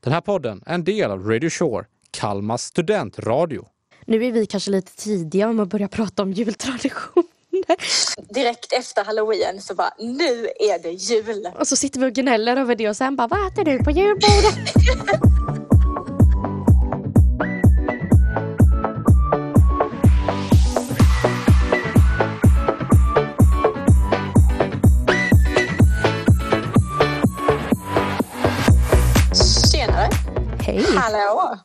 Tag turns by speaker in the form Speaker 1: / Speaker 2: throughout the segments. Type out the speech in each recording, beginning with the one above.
Speaker 1: Den här podden är en del av Radio Shore, Kalmas studentradio.
Speaker 2: Nu är vi kanske lite tidiga om att börja prata om jultraditioner.
Speaker 3: Direkt efter halloween så bara, nu är det jul.
Speaker 2: Och så sitter vi och gnäller över det och sen bara, vad äter du på julbordet?
Speaker 3: Tjenare.
Speaker 2: Hej!
Speaker 3: Hallå.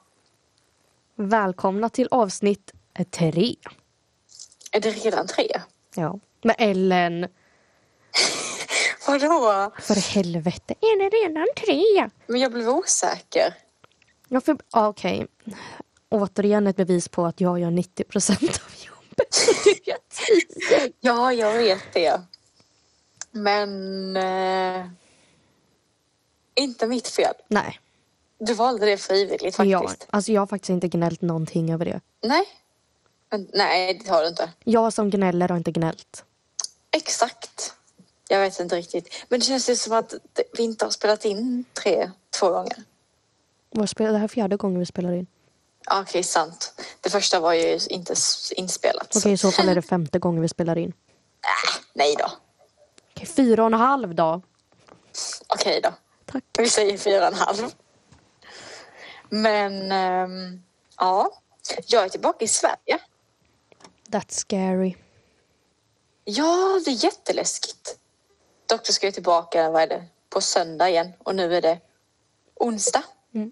Speaker 2: Välkomna till avsnitt eh, tre.
Speaker 3: Är det redan tre?
Speaker 2: Ja. Med Ellen.
Speaker 3: Vadå?
Speaker 2: För helvete, är det redan tre?
Speaker 3: Men jag blev osäker.
Speaker 2: Ja, för... ja, Okej. Återigen ett bevis på att jag gör 90 procent av jobbet. Du gör 10.
Speaker 3: Ja, jag vet det. Men... Eh, inte mitt fel.
Speaker 2: Nej,
Speaker 3: Du valde det frivilligt
Speaker 2: jag,
Speaker 3: faktiskt.
Speaker 2: alltså jag har faktiskt inte gnällt någonting över det.
Speaker 3: Nej. Men, nej, det har du inte.
Speaker 2: Jag som gnäller har inte gnällt.
Speaker 3: Exakt. Jag vet inte riktigt. Men det känns ju som att det- vi inte har spelat in tre, två gånger.
Speaker 2: Vad spelar- Det här är fjärde gången vi spelar in.
Speaker 3: Ja, Okej, sant. Det första var ju inte s- inspelat. Äh,
Speaker 2: Okej, i så fall är det femte gången vi spelar in.
Speaker 3: Nej då.
Speaker 2: Okej, fyra och en halv dag.
Speaker 3: Okej då.
Speaker 2: Tack.
Speaker 3: Vi säger fyra och en halv. Men ehm, ja, jag är tillbaka i Sverige.
Speaker 2: That's scary.
Speaker 3: Ja, det är jätteläskigt. Doktor ska ju tillbaka vad är det, på söndag igen och nu är det onsdag.
Speaker 2: Mm.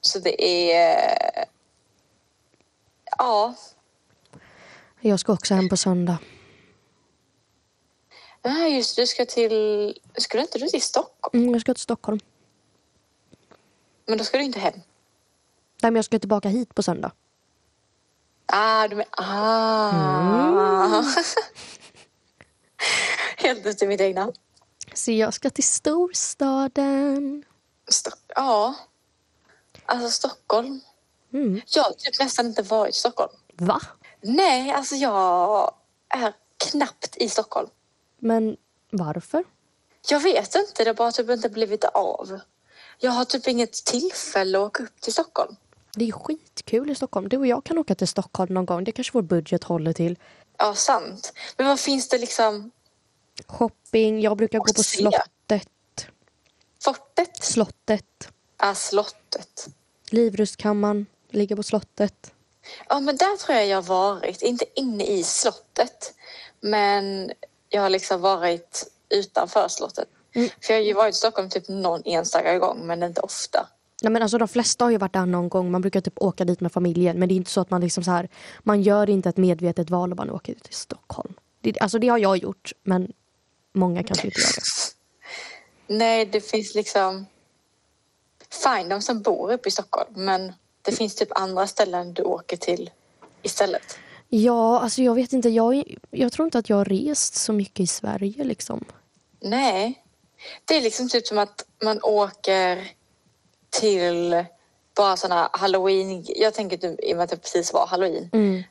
Speaker 3: Så det är... eh, Ja,
Speaker 2: Jag ska också hem på söndag.
Speaker 3: Nej, just det, du ska till... Skulle inte du till Stockholm?
Speaker 2: Mm, jag ska till Stockholm.
Speaker 3: Men då ska du inte hem.
Speaker 2: Nej, men jag ska tillbaka hit på söndag.
Speaker 3: Ah, du men... Ah. Helt ute i mitt egna.
Speaker 2: Så jag ska till storstaden.
Speaker 3: Stock... Ja. Alltså Stockholm.
Speaker 2: Mm.
Speaker 3: Jag har typ nästan inte varit i Stockholm.
Speaker 2: Va?
Speaker 3: Nej, alltså jag är knappt i Stockholm.
Speaker 2: Men varför?
Speaker 3: Jag vet inte, det har bara typ inte blivit av. Jag har typ inget tillfälle att åka upp till Stockholm.
Speaker 2: Det är skitkul i Stockholm. Du och jag kan åka till Stockholm någon gång. Det kanske vår budget håller till.
Speaker 3: Ja, sant. Men vad finns det liksom?
Speaker 2: Shopping. Jag brukar gå på
Speaker 3: se.
Speaker 2: slottet.
Speaker 3: Fortet?
Speaker 2: Slottet.
Speaker 3: Ja, slottet.
Speaker 2: Livrustkammaren. Ligger på slottet.
Speaker 3: Ja, men där tror jag jag har varit. Inte inne i slottet, men jag har liksom varit utanför slottet. För jag har ju varit i Stockholm typ någon enstaka gång, men inte ofta.
Speaker 2: Nej, men alltså, de flesta har ju varit där någon gång. Man brukar typ åka dit med familjen. Men det är inte så att man liksom så här. Man gör inte ett medvetet val och bara "Nu åker vi till Stockholm. Det, alltså det har jag gjort. Men många kanske inte gör det.
Speaker 3: Nej, det finns liksom... Fine, de som bor uppe i Stockholm, men det finns typ andra ställen du åker till istället.
Speaker 2: Ja, alltså jag vet inte. Jag, är- jag tror inte att jag har rest så mycket i Sverige liksom.
Speaker 3: Nej, det är liksom typ som att man åker till bara såna halloween... Jag tänker typ, i och med att det precis var halloween.
Speaker 2: Mm.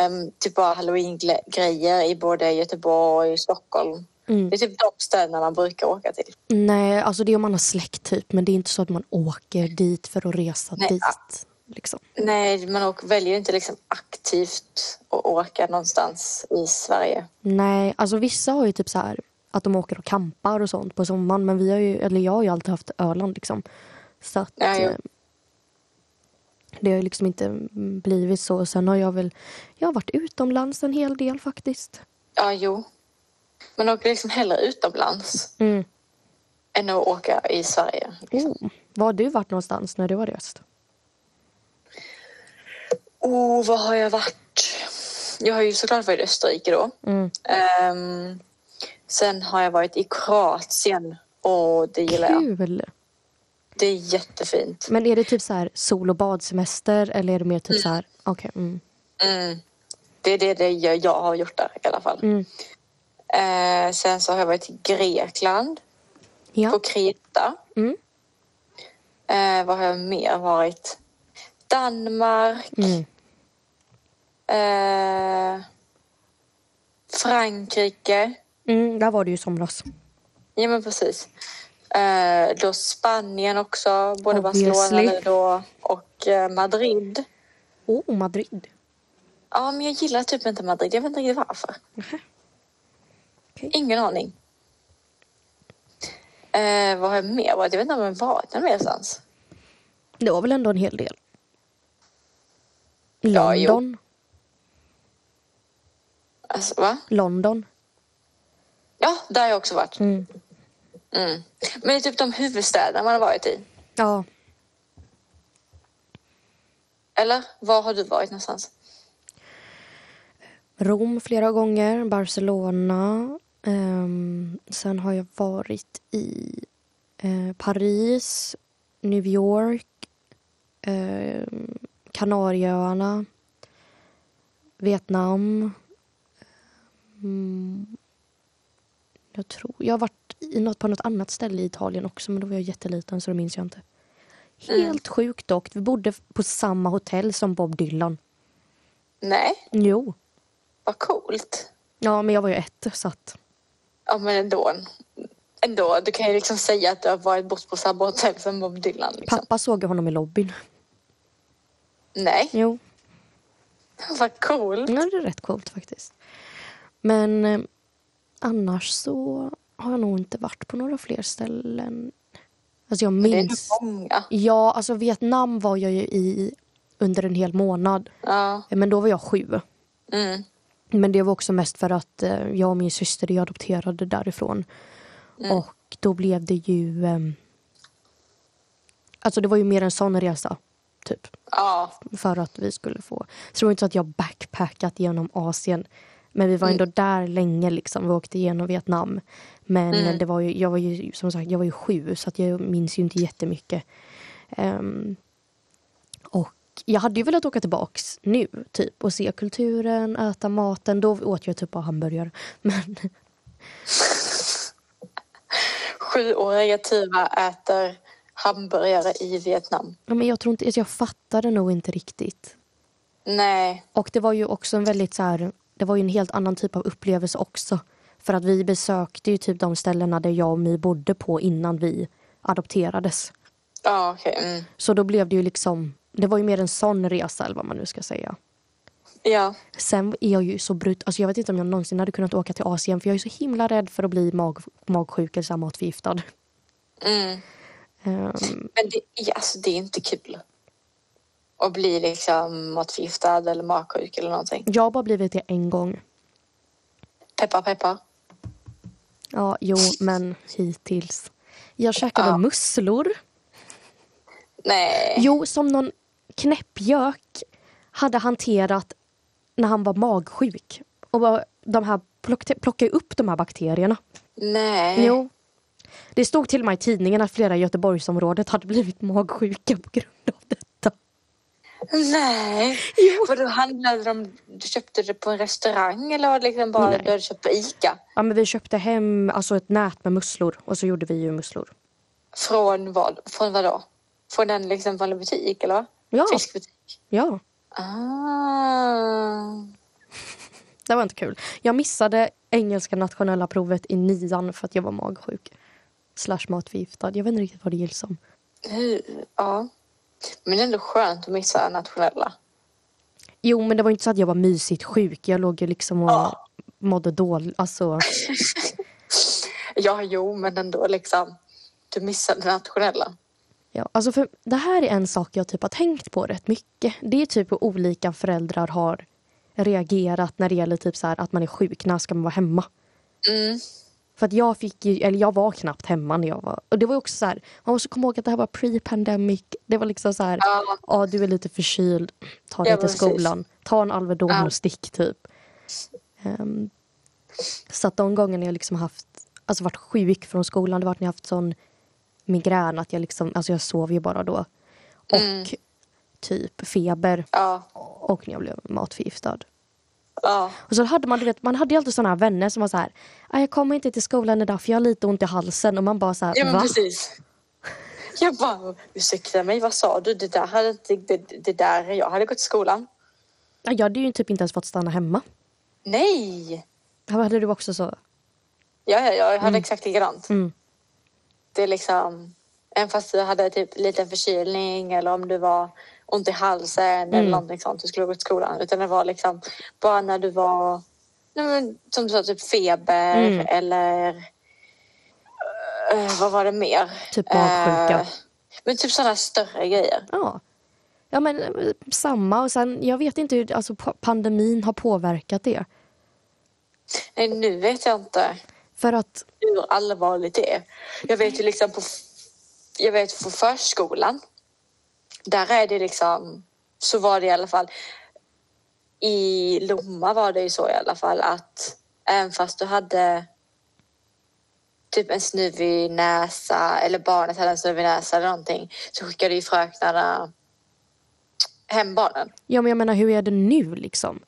Speaker 3: Ehm, typ bara halloween-grejer i både Göteborg och Stockholm.
Speaker 2: Mm.
Speaker 3: Det är typ de städerna man brukar åka till.
Speaker 2: Nej, alltså det är om man har släkt typ. Men det är inte så att man åker dit för att resa
Speaker 3: Nej,
Speaker 2: dit.
Speaker 3: ja.
Speaker 2: Liksom.
Speaker 3: Nej, man åker, väljer inte liksom aktivt att åka någonstans i Sverige.
Speaker 2: Nej, alltså vissa har ju typ så här att de åker och kampar och sånt på sommaren. Men vi har ju, eller jag har ju alltid haft Öland liksom. Så att
Speaker 3: Ja, jo.
Speaker 2: eh, det har ju liksom inte mm, blivit så. Sen har jag väl, jag har varit utomlands en hel del faktiskt.
Speaker 3: Ja, jo. Man åker liksom hellre utomlands
Speaker 2: Mm.
Speaker 3: än att åka i Sverige.
Speaker 2: Oh. Var har du varit någonstans när du har rest?
Speaker 3: Oh, vad har jag varit? Jag har ju såklart varit i Österrike då.
Speaker 2: Mm.
Speaker 3: Ehm, sen har jag varit i Kroatien och det gillar jag.
Speaker 2: Kul!
Speaker 3: Det är jättefint.
Speaker 2: Men är det typ så här sol och badsemester eller är det mer typ så här, okej, mm.
Speaker 3: Mm. Det är det, det jag, jag har gjort där i alla fall.
Speaker 2: Mm.
Speaker 3: Eh, sen så har jag varit i Grekland, på
Speaker 2: Ja.
Speaker 3: Kreta.
Speaker 2: Mm.
Speaker 3: Eh, vad har jag mer varit? Danmark.
Speaker 2: Mm.
Speaker 3: Eh, Frankrike.
Speaker 2: Mm, där var du ju i somras.
Speaker 3: Ja, men precis. Eh, då Spanien också, både
Speaker 2: Obviously.
Speaker 3: Barcelona nu då och eh, Madrid.
Speaker 2: Oh, Madrid.
Speaker 3: Ja, men jag gillar typ inte Madrid. Jag vet inte riktigt varför.
Speaker 2: Okej.
Speaker 3: Ingen aning. Eh, vad har jag mer varit? Jag vet inte om jag varit någon mer någonstans.
Speaker 2: Det var väl ändå en hel del.
Speaker 3: Ja, jo.
Speaker 2: London.
Speaker 3: Alltså, va?
Speaker 2: London.
Speaker 3: Ja, där har jag också varit.
Speaker 2: Mm.
Speaker 3: Mm. Men det är typ de huvudstäderna man har varit i.
Speaker 2: Ja,
Speaker 3: Eller? Var har du varit någonstans?
Speaker 2: Rom flera gånger, Barcelona. ehm, sen har jag varit i eh, Paris, New York, ehm, Kanarieöarna, Vietnam. Mm, jag tror jag har varit i något, på något annat ställe i Italien också men då var jag jätteliten så det minns jag inte. Helt sjukt dock. Vi bodde på samma hotell som Bob Dylan.
Speaker 3: Nej,
Speaker 2: Jo.
Speaker 3: vad coolt.
Speaker 2: Ja, men jag var ju ett så att...
Speaker 3: Ja, men ändå. Ändå, du kan ju liksom säga att du har varit bort på samma hotell som Bob Dylan. Liksom.
Speaker 2: Pappa såg ju honom i lobbyn.
Speaker 3: Nej,
Speaker 2: Jo,
Speaker 3: vad cool.
Speaker 2: ja, det är rätt coolt faktiskt. Men eh, annars så har jag nog inte varit på några fler ställen. Alltså jag
Speaker 3: Det är nog
Speaker 2: minns.
Speaker 3: många.
Speaker 2: Ja, alltså Vietnam var jag ju i under en hel månad. Eh,
Speaker 3: Ja.
Speaker 2: Men då var jag sju.
Speaker 3: Mm.
Speaker 2: Men det var också mest för att eh, jag och min syster är adopterade därifrån. Och då blev det ju... ehm, Alltså det var ju mer en sån resa, typ.
Speaker 3: ja.
Speaker 2: för att vi skulle få... Jag tror inte att jag backpackat genom Asien. Men vi var ändå där länge. Liksom. Vi åkte genom Vietnam. Men det var ju, jag var ju som sagt jag var ju sju så att jag minns ju inte jättemycket. Um, och jag hade ju velat åka tillbaks nu typ och se kulturen, äta maten. Då åt jag typ bara hamburgare. Men
Speaker 3: Sjuåriga Tyra äter hamburgare i Vietnam.
Speaker 2: Ja, men jag tror inte, alltså, jag fattade nog inte riktigt.
Speaker 3: Nej.
Speaker 2: Och det var ju också en väldigt så här, det var ju en helt annan typ av upplevelse också. För att vi besökte ju typ de ställena där jag och My bodde på innan vi adopterades.
Speaker 3: Ja, okej. Mm.
Speaker 2: Så då blev det ju liksom, det var ju mer en sån resa eller vad man nu ska säga.
Speaker 3: Ja.
Speaker 2: Sen är jag ju så brut, alltså jag vet inte om jag någonsin hade kunnat åka till Asien för jag är så himla rädd för att bli mag, magsjuk eller så här matförgiftad.
Speaker 3: Mm.
Speaker 2: Ehm,
Speaker 3: Men det, ja, alltså, det är inte kul. Att bli liksom matförgiftad eller magsjuk eller någonting.
Speaker 2: jag har bara blivit det en gång.
Speaker 3: Peppa, peppa.
Speaker 2: Ja, jo, men hittills. Jag käkade
Speaker 3: Ja.
Speaker 2: musslor.
Speaker 3: Nej.
Speaker 2: Jo, som någon knäppjök hade hanterat när han var magsjuk. Och var- de här plockte, plockade upp de här bakterierna.
Speaker 3: Nej.
Speaker 2: Jo. Det stod till och med i tidningen att flera i Göteborgsområdet hade blivit magsjuka på grund av detta.
Speaker 3: Nej.
Speaker 2: Jo.
Speaker 3: Vadå, handlade de, du köpte det på en restaurang eller var det liksom bara
Speaker 2: Nej.
Speaker 3: du hade köpt på Ica?
Speaker 2: Ja, men vi köpte hem alltså, ett nät med musslor och så gjorde vi ju musslor.
Speaker 3: Från vad? Från vad då? Från en liksom vanlig butik eller? vad?
Speaker 2: Ja.
Speaker 3: Fiskbutik?
Speaker 2: Ja,
Speaker 3: Ah.
Speaker 2: det var inte kul. Jag missade engelska nationella provet i nian för att jag var magsjuk. Slash matförgiftad. Jag vet inte riktigt vad det gills som.
Speaker 3: Hur? Ja. Men det är ändå skönt att missa nationella.
Speaker 2: Jo, men det var inte så att jag var mysigt sjuk. Jag låg ju liksom och
Speaker 3: Ah.
Speaker 2: mådde dåligt. Alltså,
Speaker 3: Ja, jo, men ändå liksom. Du missade nationella.
Speaker 2: ja. alltså för det här är en sak jag typ har tänkt på rätt mycket. Det är typ hur olika föräldrar har reagerat när det gäller typ så här att man är sjuk. När ska man vara hemma?
Speaker 3: Mm.
Speaker 2: För att jag fick ju, eller jag var knappt hemma när jag var... Och det var ju också så här, man måste komma ihåg att det här var pre-pandemic. Det var liksom så här,
Speaker 3: Ja.
Speaker 2: ja du är lite förkyld, ta dig
Speaker 3: Ja,
Speaker 2: till
Speaker 3: precis.
Speaker 2: skolan. Ta en Alvedon
Speaker 3: Ja.
Speaker 2: och stick typ. Ehm, så att de gångerna jag liksom haft, alltså varit sjuk från skolan, det var när jag haft sån migrän att jag liksom, alltså jag sov ju bara då. Och
Speaker 3: Mm.
Speaker 2: typ feber.
Speaker 3: Ja.
Speaker 2: Och när jag blev matförgiftad.
Speaker 3: Ja.
Speaker 2: Och så hade man, du vet, man hade ju alltid såna här vänner som var så här, "Ah, jag kommer inte till skolan idag för jag har lite ont i halsen och man bara så här,
Speaker 3: Ja, men
Speaker 2: va?
Speaker 3: precis. Jag bara, ursäkta mig, vad sa du? Det där, hade inte, det, det där, jag hade gått i skolan.
Speaker 2: Ja, Jag hade ju typ inte ens fått stanna hemma.
Speaker 3: Nej!
Speaker 2: Här hade du också så,
Speaker 3: Ja, ja, ja jag hade exakt likadant.
Speaker 2: Mm.
Speaker 3: Det är liksom, även fast du hade typ lite förkylning eller om du var ont i halsen
Speaker 2: Mm.
Speaker 3: eller någonting sånt, du skulle gå till skolan. Utan det var liksom bara när du var, nej men, som du sa, typ feber
Speaker 2: Mm.
Speaker 3: eller eh, vad var det mer?
Speaker 2: Typ magsjuka.
Speaker 3: Eh, men typ sådana större grejer.
Speaker 2: Ja. Ja men eh, samma och sen jag vet inte hur alltså, pa- pandemin har påverkat det.
Speaker 3: Nej, nu vet jag inte.
Speaker 2: För att,
Speaker 3: hur allvarligt det är. Jag vet ju liksom på, jag vet på förskolan, där är det liksom, så var det i alla fall, i Lomma var det ju så i alla fall att även fast du hade typ en snuvig näsa eller barnet hade en snuvig näsa eller någonting så skickade ju fröknarna hem barnen.
Speaker 2: ja men jag menar hur är det nu liksom?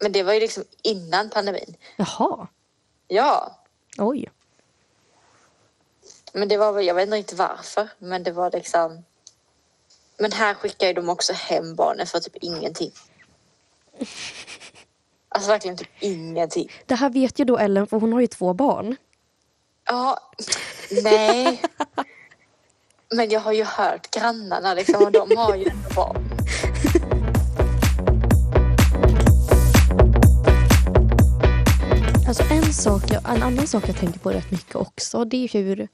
Speaker 3: Men det var ju liksom innan pandemin.
Speaker 2: Jaha,
Speaker 3: Ja,
Speaker 2: oj.
Speaker 3: Men det var väl, jag vet inte riktigt varför, men det var liksom... Men här skickar ju de också hem barnen för typ ingenting. Alltså verkligen typ ingenting.
Speaker 2: Det här vet ju då Ellen för hon har ju två barn.
Speaker 3: Ja, nej. Men jag har ju hört grannarna liksom och de har ju ändå barn.
Speaker 2: Alltså en, sak, jag- en annan sak jag tänker på rätt mycket också det är hur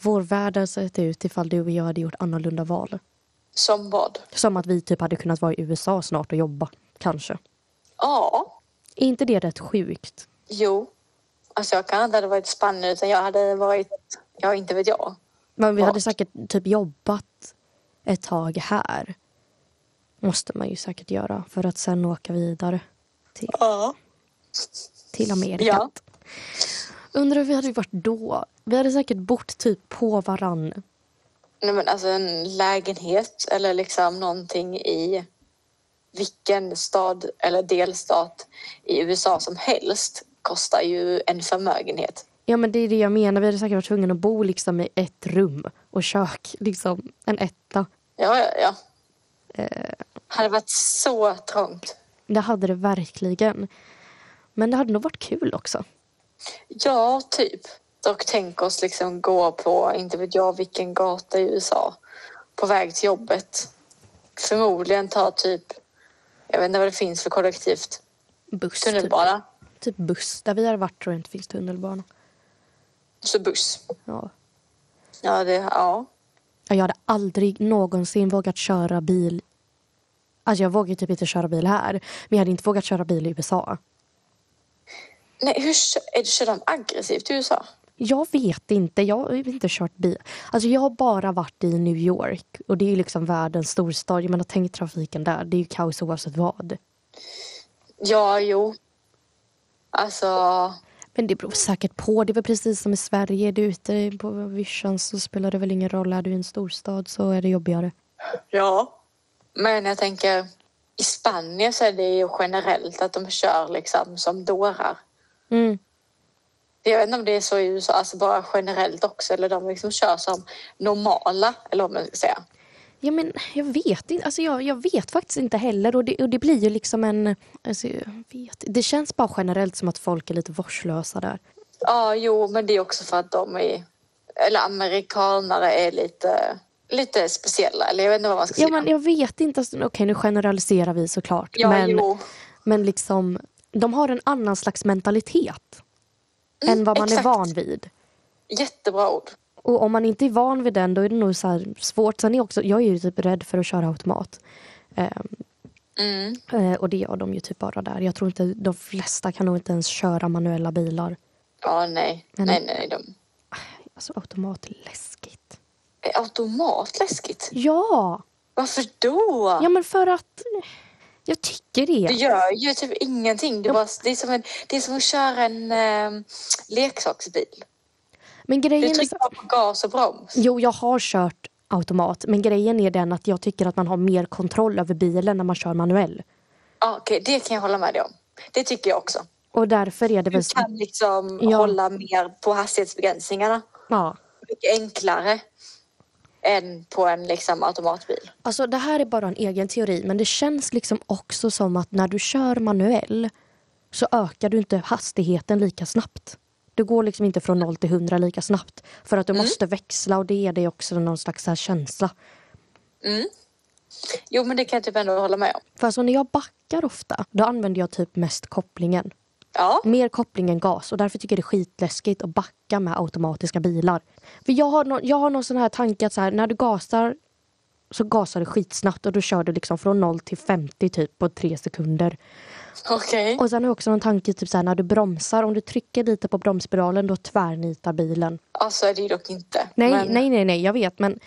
Speaker 2: vår värld hade sett ut ifall du och jag hade gjort annorlunda val.
Speaker 3: Som vad?
Speaker 2: Som att vi typ hade kunnat vara i USA snart och jobba, kanske.
Speaker 3: Ja,
Speaker 2: Är inte det rätt sjukt?
Speaker 3: jo. Alltså jag kan inte hade varit i Spanien utan jag hade varit, ja inte vet jag.
Speaker 2: Men vi
Speaker 3: Ja.
Speaker 2: hade säkert typ jobbat ett tag här. Måste man ju säkert göra för att sen åka vidare till,
Speaker 3: Ja.
Speaker 2: till Amerika.
Speaker 3: Ja.
Speaker 2: Undrar hur vi hade varit då? Vi hade säkert bott typ på varann.
Speaker 3: Nej, men alltså en lägenhet eller liksom någonting i vilken stad eller delstat i USA som helst kostar ju en förmögenhet.
Speaker 2: Ja men det är det jag menar. Vi hade säkert varit tvungna att bo liksom i ett rum och kök. Liksom en etta.
Speaker 3: Ja, ja, ja. Hade varit så trångt.
Speaker 2: Det hade det verkligen. Men det hade nog varit kul också.
Speaker 3: Ja, typ. Och tänk oss liksom gå på, inte vet jag vilken gata i USA, på väg till jobbet. Förmodligen ta typ, jag vet inte vad det finns för kollektivt,
Speaker 2: Buss.
Speaker 3: tunnelbana,
Speaker 2: Typ, typ buss. Där vi hade varit tror jag inte finns tunnelbana.
Speaker 3: så buss.
Speaker 2: Ja.
Speaker 3: Ja, det, ja.
Speaker 2: Ja, Jag hade aldrig någonsin vågat köra bil. Alltså jag vågar ju typ inte köra bil här. Men jag hade inte vågat köra bil i USA.
Speaker 3: Nej, hur kö- är det, kör de aggressivt i USA?
Speaker 2: Jag vet inte. Jag har ju inte kört bil. Alltså jag har bara varit i New York. Och det är ju liksom världens storstad. Jag menar tänk trafiken där. Det är ju kaos oavsett vad.
Speaker 3: Ja, jo. Alltså,
Speaker 2: Men det beror säkert på. Det är väl precis som i Sverige. Är du ute på vischan så spelar det väl ingen roll. Är du i en storstad så är det jobbigare.
Speaker 3: ja. Men jag tänker, i Spanien så är det ju generellt att de kör liksom som dårar.
Speaker 2: Mm.
Speaker 3: Jag vet inte om det är så i USA, alltså bara generellt också, eller de liksom kör som normala, eller vad man ska säga.
Speaker 2: Ja, men jag vet inte. Alltså, jag, jag vet faktiskt inte heller. Och det, och det blir ju liksom en... Alltså, jag vet. Det känns bara generellt som att folk är lite vårdslösa där.
Speaker 3: Ja, jo, men det är också för att de är, eller amerikanare är lite, lite speciella, eller jag vet inte vad man ska
Speaker 2: Ja,
Speaker 3: säga.
Speaker 2: men jag vet inte. Alltså, Okej, nu generaliserar vi såklart.
Speaker 3: ja,
Speaker 2: men,
Speaker 3: jo.
Speaker 2: men liksom, de har en annan slags mentalitet än vad man
Speaker 3: Mm, exakt.
Speaker 2: är van vid.
Speaker 3: Jättebra ord.
Speaker 2: Och om man inte är van vid den, då är det nog så här svårt. Sen är jag också, jag är ju typ rädd för att köra automat. Ehm,
Speaker 3: Mm.
Speaker 2: eh, och det gör de ju typ bara där. Jag tror inte, de flesta kan nog inte ens köra manuella bilar.
Speaker 3: Ja, nej.
Speaker 2: Men-
Speaker 3: Nej, nej, de...
Speaker 2: Alltså automat är läskigt.
Speaker 3: Är automat läskigt?
Speaker 2: Ja!
Speaker 3: Varför då?
Speaker 2: Ja men för att jag tycker
Speaker 3: Du
Speaker 2: det.
Speaker 3: gör ju typ ingenting. Du bara, det, är som en, det är som att köra en eh, leksaksbil.
Speaker 2: Men
Speaker 3: Du
Speaker 2: grejen är
Speaker 3: trycker
Speaker 2: så...
Speaker 3: bara på gas och broms.
Speaker 2: Jo, jag har kört automat. Men grejen är den att jag tycker att man har mer kontroll över bilen när man kör manuell.
Speaker 3: Ja, Okej, det kan jag hålla med dig om. Det tycker jag också.
Speaker 2: Och därför är det
Speaker 3: Du
Speaker 2: väl...
Speaker 3: kan liksom
Speaker 2: Ja.
Speaker 3: hålla mer på hastighetsbegränsningarna.
Speaker 2: Ja.
Speaker 3: Mycket enklare än på en liksom, automatbil.
Speaker 2: Alltså det här är bara en egen teori men det känns liksom också som att när du kör manuell så ökar du inte hastigheten lika snabbt. Du går liksom inte från noll till hundra lika snabbt. För att du måste växla och det ger dig också någon slags så här känsla.
Speaker 3: Jo, men det kan jag typ ändå hålla med om.
Speaker 2: För alltså när jag backar ofta, då använder jag typ mest kopplingen.
Speaker 3: Ja,
Speaker 2: Mer koppling än gas och därför tycker jag det är skitläskigt att backa med automatiska bilar. För jag har, nå jag har någon sån här tanke att så här, när du gasar så gasar du skitsnabbt och då kör du liksom från 0 till 50 typ på tre sekunder.
Speaker 3: okej.
Speaker 2: Och sen har jag också någon tanke typ så här, när du bromsar, om du trycker lite på bromspedalen då tvärnitar bilen.
Speaker 3: Ja, så är det ju dock inte.
Speaker 2: Nej,
Speaker 3: men,
Speaker 2: nej, nej, nej, jag vet men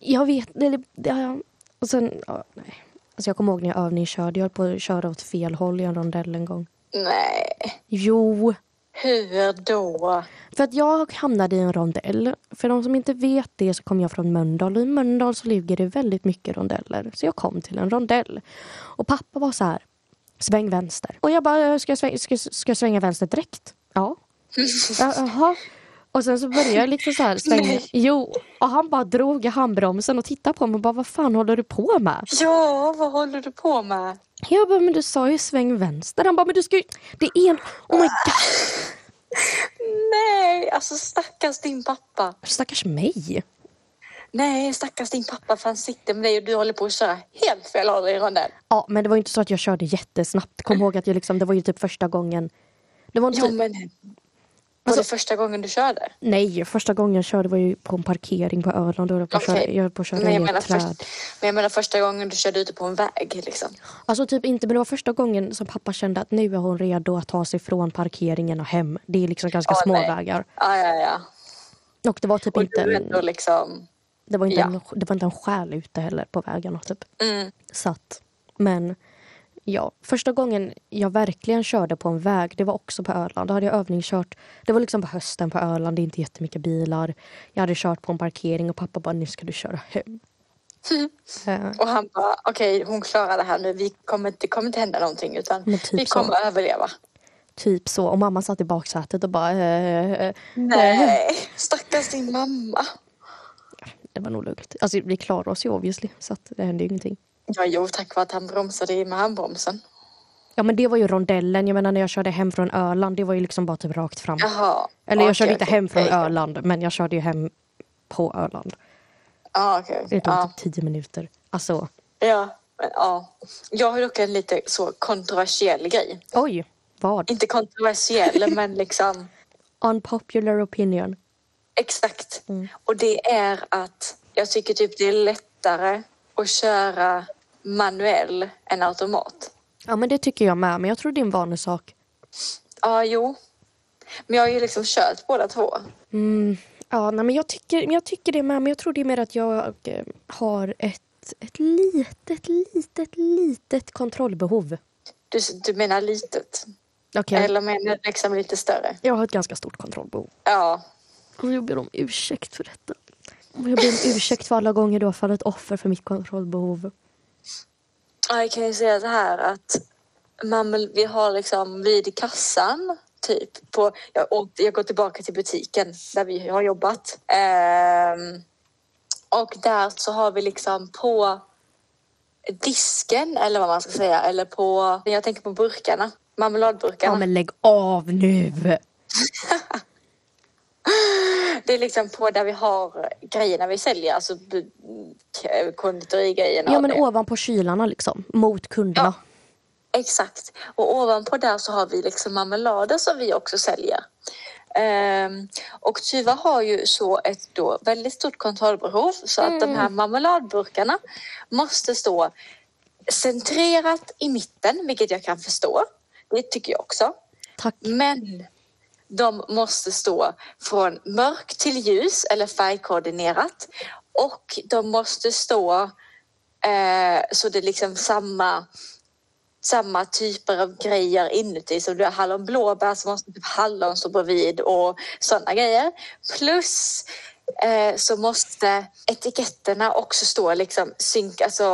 Speaker 2: jag vet, eller ja, och sen, ja, nej. Alltså jag kommer ihåg när jag övningskörde, jag höll på att köra åt fel håll i en rondell en gång.
Speaker 3: Nej,
Speaker 2: Jo,
Speaker 3: hur då?
Speaker 2: För att jag hamnade i en rondell. För de som inte vet det så kom jag från Mölndal och i Mölndal så ligger det väldigt mycket rondeller. Så jag kom till en rondell. Och pappa var så här, sväng vänster. Och jag bara, ska jag svänga, ska, ska jag svänga vänster direkt? Ja. Ja, Jaha. Och sen så började jag liksom så här svänga.
Speaker 3: Nej.
Speaker 2: Jo, och han bara drog i handbromsen och tittade på mig och bara, vad fan håller du på med?
Speaker 3: Ja, vad håller du på med?
Speaker 2: Jag bara, men du sa ju sväng vänster. Han bara, men du ska ju, det är en, oh my god,
Speaker 3: Nej, alltså stackars din pappa.
Speaker 2: stackars mig.
Speaker 3: Nej, stackars din pappa för han sitter med dig och du håller på att köra helt fel håll i rondell.
Speaker 2: Ja, men det var ju inte så att jag körde jättesnabbt. Kom ihåg att jag liksom, det var ju typ första gången. Det var inte,
Speaker 3: Jo, men var
Speaker 2: Alltså-
Speaker 3: det första gången du körde?
Speaker 2: Nej, första gången jag körde var ju på en parkering på Öland. Då höll jag på att köra,
Speaker 3: Okej.
Speaker 2: jag höll på att köra
Speaker 3: men, jag
Speaker 2: ner
Speaker 3: menar
Speaker 2: ett
Speaker 3: först,
Speaker 2: träd.
Speaker 3: men jag menar första gången du körde ute på en väg. Liksom.
Speaker 2: Alltså typ inte, men det var första gången som pappa kände att nu är hon redo att ta sig från parkeringen och hem. Det är liksom ganska
Speaker 3: Ja,
Speaker 2: små
Speaker 3: nej.
Speaker 2: vägar.
Speaker 3: Ja, ja, ja.
Speaker 2: Och det var typ
Speaker 3: Och
Speaker 2: inte,
Speaker 3: du
Speaker 2: en,
Speaker 3: ändå liksom...
Speaker 2: det var inte,
Speaker 3: ja.
Speaker 2: en, det var inte en själ ute heller på vägarna typ.
Speaker 3: Mm,
Speaker 2: Så att, men ja, första gången jag verkligen körde på en väg, det var också på Öland. Då hade jag övningskört, det var liksom på hösten på Öland, det är inte jättemycket bilar. Jag hade kört på en parkering och pappa bara, nu ska du köra hem.
Speaker 3: Mm.
Speaker 2: Eh,
Speaker 3: och han bara, okej, hon klarar det här nu. Vi kommer, det kommer inte hända någonting, utan
Speaker 2: Men typ
Speaker 3: vi
Speaker 2: så.
Speaker 3: kommer överleva.
Speaker 2: typ så, och mamma satt i baksätet och bara, eh, eh, eh.
Speaker 3: Nej, stackars din mamma.
Speaker 2: det var nog lugnt. Alltså vi klarade oss ju obviously, så att det hände ju ingenting.
Speaker 3: Ja, jo, tack vare att han bromsade i med handbromsen.
Speaker 2: Ja men det var ju rondellen, jag menar när jag körde hem från Öland, det var ju liksom bara typ rakt fram.
Speaker 3: Jaha.
Speaker 2: Eller jag
Speaker 3: okej,
Speaker 2: körde inte
Speaker 3: okej,
Speaker 2: hem från
Speaker 3: okej.
Speaker 2: Öland, men jag körde ju hem på Öland.
Speaker 3: Ja, okej.
Speaker 2: Det tog
Speaker 3: Ja.
Speaker 2: typ tio minuter. Alltså,
Speaker 3: Ja, men, ja. Jag har dock en lite så kontroversiell grej.
Speaker 2: oj, vad?
Speaker 3: Inte kontroversiell, men liksom...
Speaker 2: Unpopular opinion.
Speaker 3: Exakt.
Speaker 2: Mm.
Speaker 3: Och det är att jag tycker typ det är lättare att köra manuell än automat.
Speaker 2: Ja, men det tycker jag med, men jag tror det är en vanlig sak.
Speaker 3: Ja, jo. Men jag har ju liksom kört båda två.
Speaker 2: Mm. Ja, nej, men jag tycker, men jag tycker det med, men jag tror det är mer att jag eh, har ett, ett litet, litet, litet kontrollbehov.
Speaker 3: Du, du menar litet?
Speaker 2: Okej.
Speaker 3: Eller menar du liksom lite större?
Speaker 2: Jag har ett ganska stort kontrollbehov.
Speaker 3: Ja.
Speaker 2: Och jag ber om ursäkt för detta. Och jag ber om ursäkt för alla gånger du har fallit offer för mitt kontrollbehov.
Speaker 3: Ja, Jag kan ju säga så här att man, vi har liksom vid kassan typ på, jag, åkte, jag går tillbaka till butiken där vi har jobbat. Ehm, och där så har vi liksom på disken eller vad man ska säga eller på, jag tänker på burkarna, marmeladburkarna.
Speaker 2: Ja, men lägg av nu!
Speaker 3: Det är liksom på där vi har grejerna vi säljer, alltså bu- k- konditorigrejerna.
Speaker 2: Ja,
Speaker 3: och
Speaker 2: men
Speaker 3: det.
Speaker 2: ovanpå kylarna liksom, mot kunderna.
Speaker 3: Exakt. Och ovanpå där så har vi liksom marmelader som vi också säljer. Ehm, och Tyva har ju så ett då väldigt stort kontrollbehov så att de här marmeladburkarna måste stå centrerat i mitten, vilket jag kan förstå. Det tycker jag också.
Speaker 2: Tack.
Speaker 3: Men de måste stå från mörk till ljus eller färgkoordinerat och de måste stå eh, så det är liksom samma samma typer av grejer inuti. Som du har hallonblåbär så måste typ hallon stå bredvid och sådana grejer. Plus eh, så måste etiketterna också stå liksom synk, alltså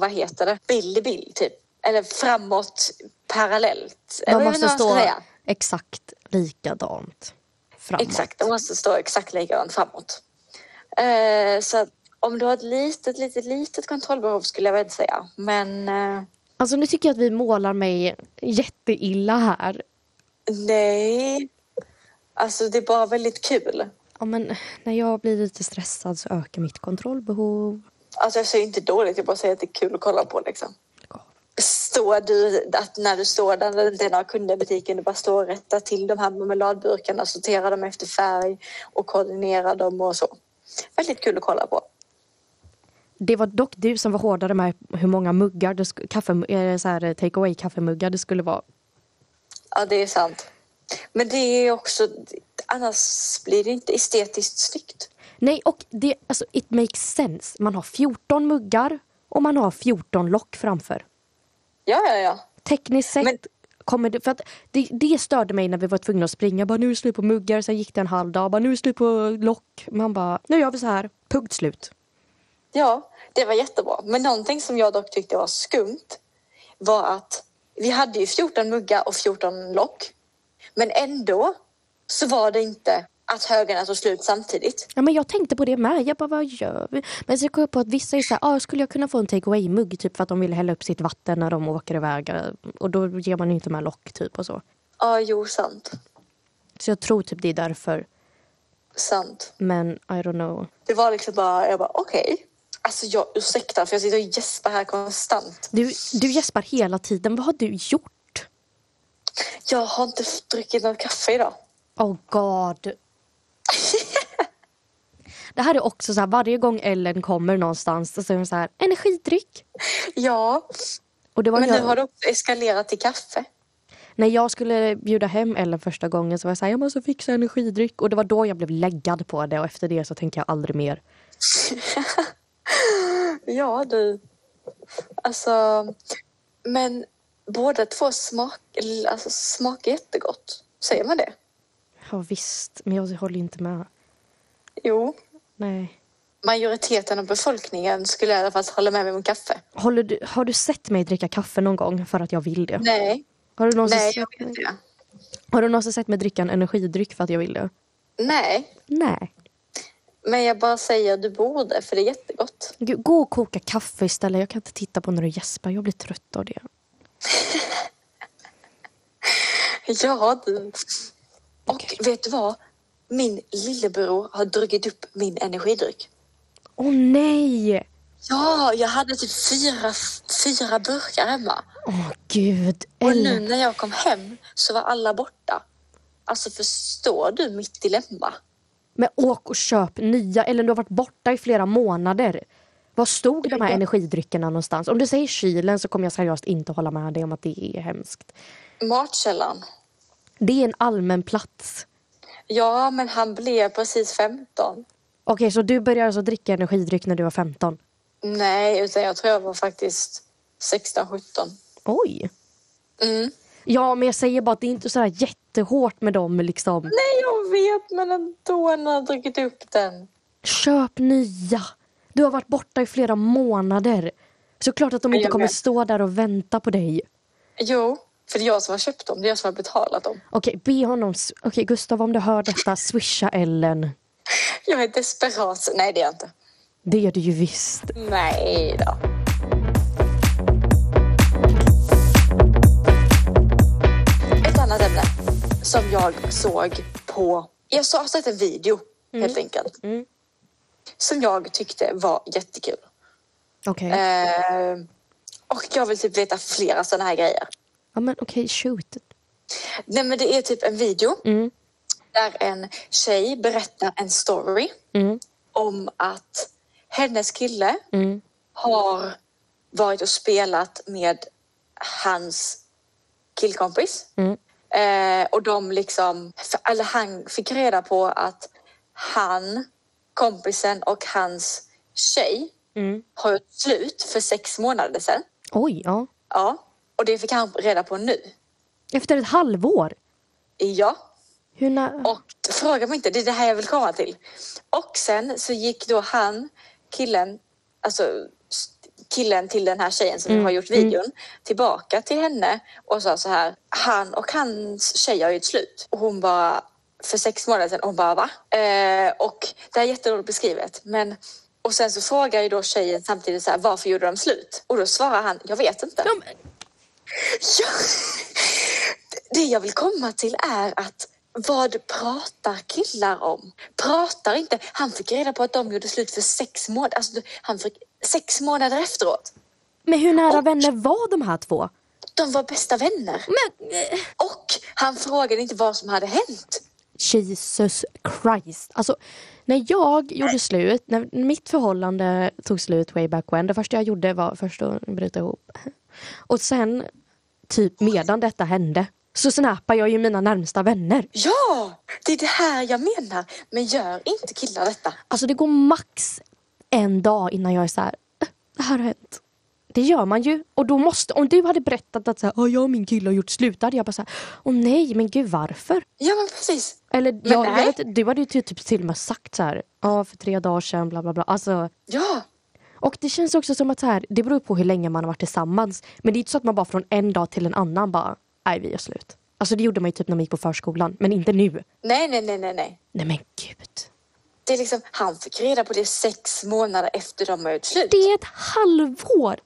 Speaker 3: vad heter det, bild i bild typ. Eller framåt parallellt. Eller
Speaker 2: De
Speaker 3: jag vet
Speaker 2: måste
Speaker 3: inte vad
Speaker 2: stå
Speaker 3: man ska säga.
Speaker 2: exakt likadant framåt.
Speaker 3: Exakt, de måste stå exakt likadant framåt. Eh, så att om du har ett litet, litet, litet kontrollbehov skulle jag väl inte säga. Men eh,
Speaker 2: Alltså nu tycker jag att vi målar mig jätteilla här.
Speaker 3: nej. Alltså det är bara väldigt kul.
Speaker 2: Ja, men när jag blir lite stressad så ökar mitt kontrollbehov.
Speaker 3: Alltså jag säger inte dåligt, jag bara säger att det är kul att kolla på liksom.
Speaker 2: Lägg av.
Speaker 3: Står du, att när du står där när det inte är några kunder i butiken, du bara står och rättar till de här marmeladburkarna, sorterar dem efter färg och koordinerar dem och så. Väldigt kul att kolla på.
Speaker 2: Det var dock du som var hårdare med hur många muggar, det sk- kaffe, eh, så här, eh, take away kaffemuggar det skulle vara.
Speaker 3: Ja, det är sant. Men det är också, annars blir det inte estetiskt snyggt.
Speaker 2: Nej, och det, alltså, it makes sense. Man har 14 muggar och man har 14 lock framför.
Speaker 3: Ja, ja, ja.
Speaker 2: Tekniskt sett
Speaker 3: Men-
Speaker 2: kommer det... För att det, det störde mig när vi var tvungna att springa. Bara, nu är det slut på muggar, sen gick det en halv dag. Bara, nu är det slut på lock. Man bara, nu gör vi så här. Punkt slut.
Speaker 3: Ja, det var jättebra. Men någonting som jag dock tyckte var skumt var att vi hade ju 14 muggar och 14 lock. Men ändå så var det inte att högarna tog slut samtidigt.
Speaker 2: Ja, men jag tänkte på det med. Jag bara, vad gör vi? Men så kom jag på att vissa är så här, ah, skulle jag kunna få en take away-mugg? Typ för att de vill hälla upp sitt vatten när de åker iväg. eh, Och då ger man ju inte med lock typ och så.
Speaker 3: Ja, jo, sant.
Speaker 2: Så jag tror typ det är därför.
Speaker 3: Sant.
Speaker 2: Men I don't know.
Speaker 3: Det var liksom bara, jag bara okej. Alltså jag ursäktar för jag sitter och gäspar här konstant.
Speaker 2: Du, du gäspar hela tiden. Vad har du gjort?
Speaker 3: Jag har inte druckit något kaffe idag.
Speaker 2: Oh god. Det här är också så här, varje gång Ellen kommer någonstans så säger hon så här, energidryck.
Speaker 3: Ja,
Speaker 2: Och det var
Speaker 3: men
Speaker 2: jag,
Speaker 3: nu har det också eskalerat till kaffe.
Speaker 2: När jag skulle bjuda hem Ellen första gången så var jag så här, jag måste fixa energidryck. Och det var då jag blev läggad på det och efter det så tänker jag aldrig mer.
Speaker 3: Ja, du. Alltså, men båda två smak, alltså, smakar jättegott. Säger man det?
Speaker 2: Ja visst, men jag håller inte med.
Speaker 3: Jo.
Speaker 2: Nej.
Speaker 3: Majoriteten av befolkningen skulle i alla fall hålla med mig om kaffe.
Speaker 2: Håller du, har du sett mig dricka kaffe någon gång för att jag vill det?
Speaker 3: Nej,
Speaker 2: Har du någonsin,
Speaker 3: nej, jag vet det.
Speaker 2: har du någonsin sett mig dricka en energidryck för att jag vill det?
Speaker 3: Nej,
Speaker 2: Nej.
Speaker 3: men jag bara säger du borde, för det är jättegott.
Speaker 2: Gud, gå och koka kaffe istället. Jag kan inte titta på när du gäspar. Jag blir trött av det.
Speaker 3: Ja, du. Och vet du vad? Min lillebror har druckit upp min energidryck.
Speaker 2: Åh nej!
Speaker 3: Ja, jag hade typ fyra, fyra burkar hemma.
Speaker 2: Åh gud.
Speaker 3: Och nu
Speaker 2: Ellen.
Speaker 3: när jag kom hem så var alla borta. Alltså förstår du mitt dilemma?
Speaker 2: Men åk och köp nya. Ellen, du har varit borta i flera månader. Var stod de här energidryckerna någonstans? Om du säger kylen så kommer jag seriöst inte hålla med dig om att det är hemskt.
Speaker 3: Matkällan.
Speaker 2: Det är en allmän plats.
Speaker 3: Ja, men han blev precis 15.
Speaker 2: Okej, så du började alltså dricka energidryck när du var 15?
Speaker 3: Nej, utan jag tror jag var faktiskt 16, 17.
Speaker 2: Oj.
Speaker 3: Mm.
Speaker 2: Ja, men jag säger bara att det är inte så här jättehårt med dem liksom.
Speaker 3: Nej, jag vet, men ändå när jag druckit upp den.
Speaker 2: Köp nya! Du har varit borta i flera månader. Såklart att de
Speaker 3: Ja,
Speaker 2: inte
Speaker 3: jag
Speaker 2: kommer
Speaker 3: vet.
Speaker 2: stå där och vänta på dig.
Speaker 3: Jo, för det är jag som har köpt dem. Det är jag som har betalat dem.
Speaker 2: Okej, be honom... s- Okej, Gustav, om du hör detta, swisha Ellen.
Speaker 3: Jag är desperat. Nej, det är jag inte.
Speaker 2: Det gör du ju visst.
Speaker 3: Nej då. Ett annat ämne som jag såg på... Jag såg alltså en video, helt enkelt. Som jag tyckte var jättekul.
Speaker 2: Okej.
Speaker 3: Eh, och jag vill typ veta flera sådana här grejer.
Speaker 2: Ja, men okej, shoot.
Speaker 3: Nej, men det är typ en video där en tjej berättar en story om att hennes kille
Speaker 2: Mm,
Speaker 3: har varit och spelat med hans killkompis.
Speaker 2: mm.
Speaker 3: Eh, och de liksom, för, eller han fick reda på att han, kompisen och hans tjej har gjort slut för sex månader sedan.
Speaker 2: Oj, ja.
Speaker 3: Ja, och det fick han reda på nu.
Speaker 2: Efter ett halvår?
Speaker 3: Ja,
Speaker 2: Hur när...
Speaker 3: Och fråga mig inte, det är det här jag vill komma till. Och sen så gick då han, killen, alltså s- killen till den här tjejen som har gjort videon, tillbaka till henne och sa så här, han och hans tjej har gjort slut. Och hon bara, för sex månader sedan, och hon bara va? Eh, och det här är jätteroligt beskrivet, men och sen så frågar ju då tjejen samtidigt så här, varför gjorde de slut? Och då svarar han, jag vet inte.
Speaker 2: Ja, men-
Speaker 3: Ja. Det jag vill komma till är att Vad pratar killar om? Pratar inte. Han fick reda på att de gjorde slut för sex månader. Alltså, du- han fick sex månader efteråt.
Speaker 2: Men hur nära vänner var de här två?
Speaker 3: De var bästa vänner.
Speaker 2: Men... eh,
Speaker 3: Och han frågade inte vad som hade hänt.
Speaker 2: Jesus Christ. Alltså, när jag gjorde slut, när mitt förhållande tog slut way back when. Det första jag gjorde var först att bryta ihop. Och sen, typ medan detta hände, så snappade jag ju mina närmsta vänner.
Speaker 3: Ja, det är det här jag menar. Men gör inte killar detta.
Speaker 2: Alltså det går max en dag innan jag är så här, "Eh, det här har hänt. Det gör man ju. Och då måste, om du hade berättat att så här, "Åh, jag och min kille har gjort slut, då hade jag bara så här, åh nej, men gud varför?
Speaker 3: Ja, men precis.
Speaker 2: Eller jag, jag
Speaker 3: nej.
Speaker 2: vet, du hade ju ty- typ till och med sagt så här, ja för tre dagar sedan, bla bla bla. Alltså,
Speaker 3: Ja,
Speaker 2: och det känns också som att så här, det beror på hur länge man har varit tillsammans. Men det är inte så att man bara från en dag till en annan bara, nej vi gör slut. Alltså det gjorde man ju typ när man gick på förskolan, men inte nu.
Speaker 3: nej, nej, nej, nej, nej.
Speaker 2: Nej men gud.
Speaker 3: Det är liksom, han fick reda på det sex månader efter de har gjort slut.
Speaker 2: Det är ett halvår!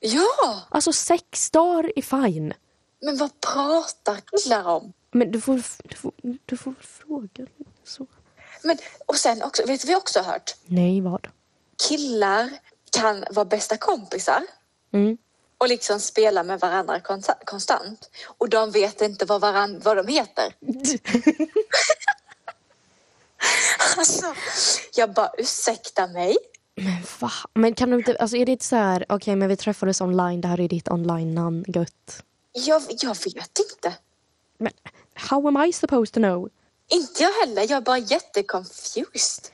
Speaker 3: Ja,
Speaker 2: Alltså sex dagar är fine.
Speaker 3: men vad pratar killar om?
Speaker 2: Men du får, du får, du får fråga. Så.
Speaker 3: Men, och sen också, vet du vad jag också har hört?
Speaker 2: Nej, vad?
Speaker 3: Killar kan vara bästa kompisar
Speaker 2: Mm.
Speaker 3: och liksom spela med varandra konsta- konstant. Och de vet inte vad, varann, vad de heter. Alltså, jag bara ursäkta mig.
Speaker 2: Men va? Men kan du inte, alltså är det inte så här, okej men vi träffades online, det här är ditt online-namn, gött.
Speaker 3: Jag, jag vet inte.
Speaker 2: Men how am I supposed to know?
Speaker 3: Inte jag heller, jag är bara jätteconfused.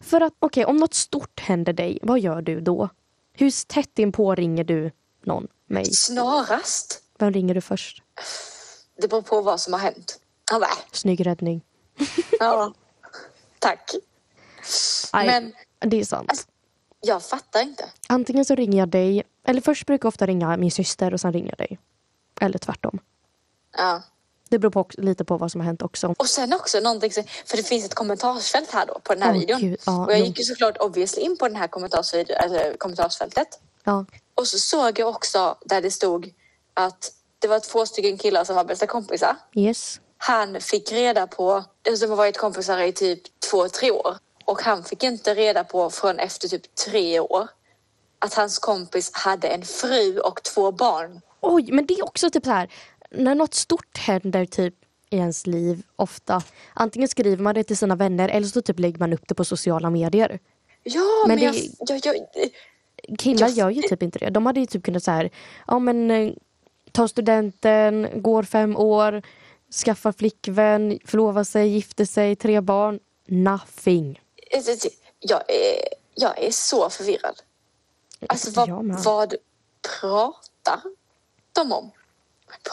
Speaker 2: För att, okej om något stort händer dig, vad gör du då? Hur tätt inpå ringer du någon? Mig?
Speaker 3: Snarast.
Speaker 2: Vem ringer du först?
Speaker 3: Det beror på vad som har hänt. Han bara, äh,
Speaker 2: Snygg räddning.
Speaker 3: ja. Tack.
Speaker 2: Nej,
Speaker 3: Men-
Speaker 2: det är sant.
Speaker 3: Alltså, jag fattar inte.
Speaker 2: Antingen så ringer jag dig, eller först brukar jag ofta ringa min syster och sen ringer jag dig. Eller tvärtom.
Speaker 3: Ja.
Speaker 2: Det beror på, ox- lite på vad som har hänt också.
Speaker 3: Och sen också någonting, som- för det finns ett kommentarsfält här då på den här
Speaker 2: Åh,
Speaker 3: videon.
Speaker 2: gud, ja,
Speaker 3: och jag
Speaker 2: jo.
Speaker 3: gick ju såklart obviously in på den här kommentarsvideo, eller kommentarsfältet.
Speaker 2: Ja.
Speaker 3: Och så såg jag också där det stod att det var två stycken killar som var bästa kompisar.
Speaker 2: Yes.
Speaker 3: Han fick reda på, de har varit kompisar i typ två, tre år. Och han fick inte reda på förrän efter typ tre år att hans kompis hade en fru och två barn.
Speaker 2: Oj, men det är också typ så här. När något stort händer typ i ens liv ofta. Antingen skriver man det till sina vänner eller så typ lägger man upp det på sociala medier.
Speaker 3: Ja,
Speaker 2: Men
Speaker 3: men,
Speaker 2: det-
Speaker 3: jag, jag, jag...
Speaker 2: Killar
Speaker 3: Just
Speaker 2: gör ju typ inte det. De hade ju typ kunnat så här, ja men eh, tar studenten, går fem år, skaffar flickvän, förlovar sig, gifter sig, tre barn. Nothing.
Speaker 3: Eh, Jag är, jag är så förvirrad. Alltså vad,
Speaker 2: Jag med.
Speaker 3: vad pratar de om?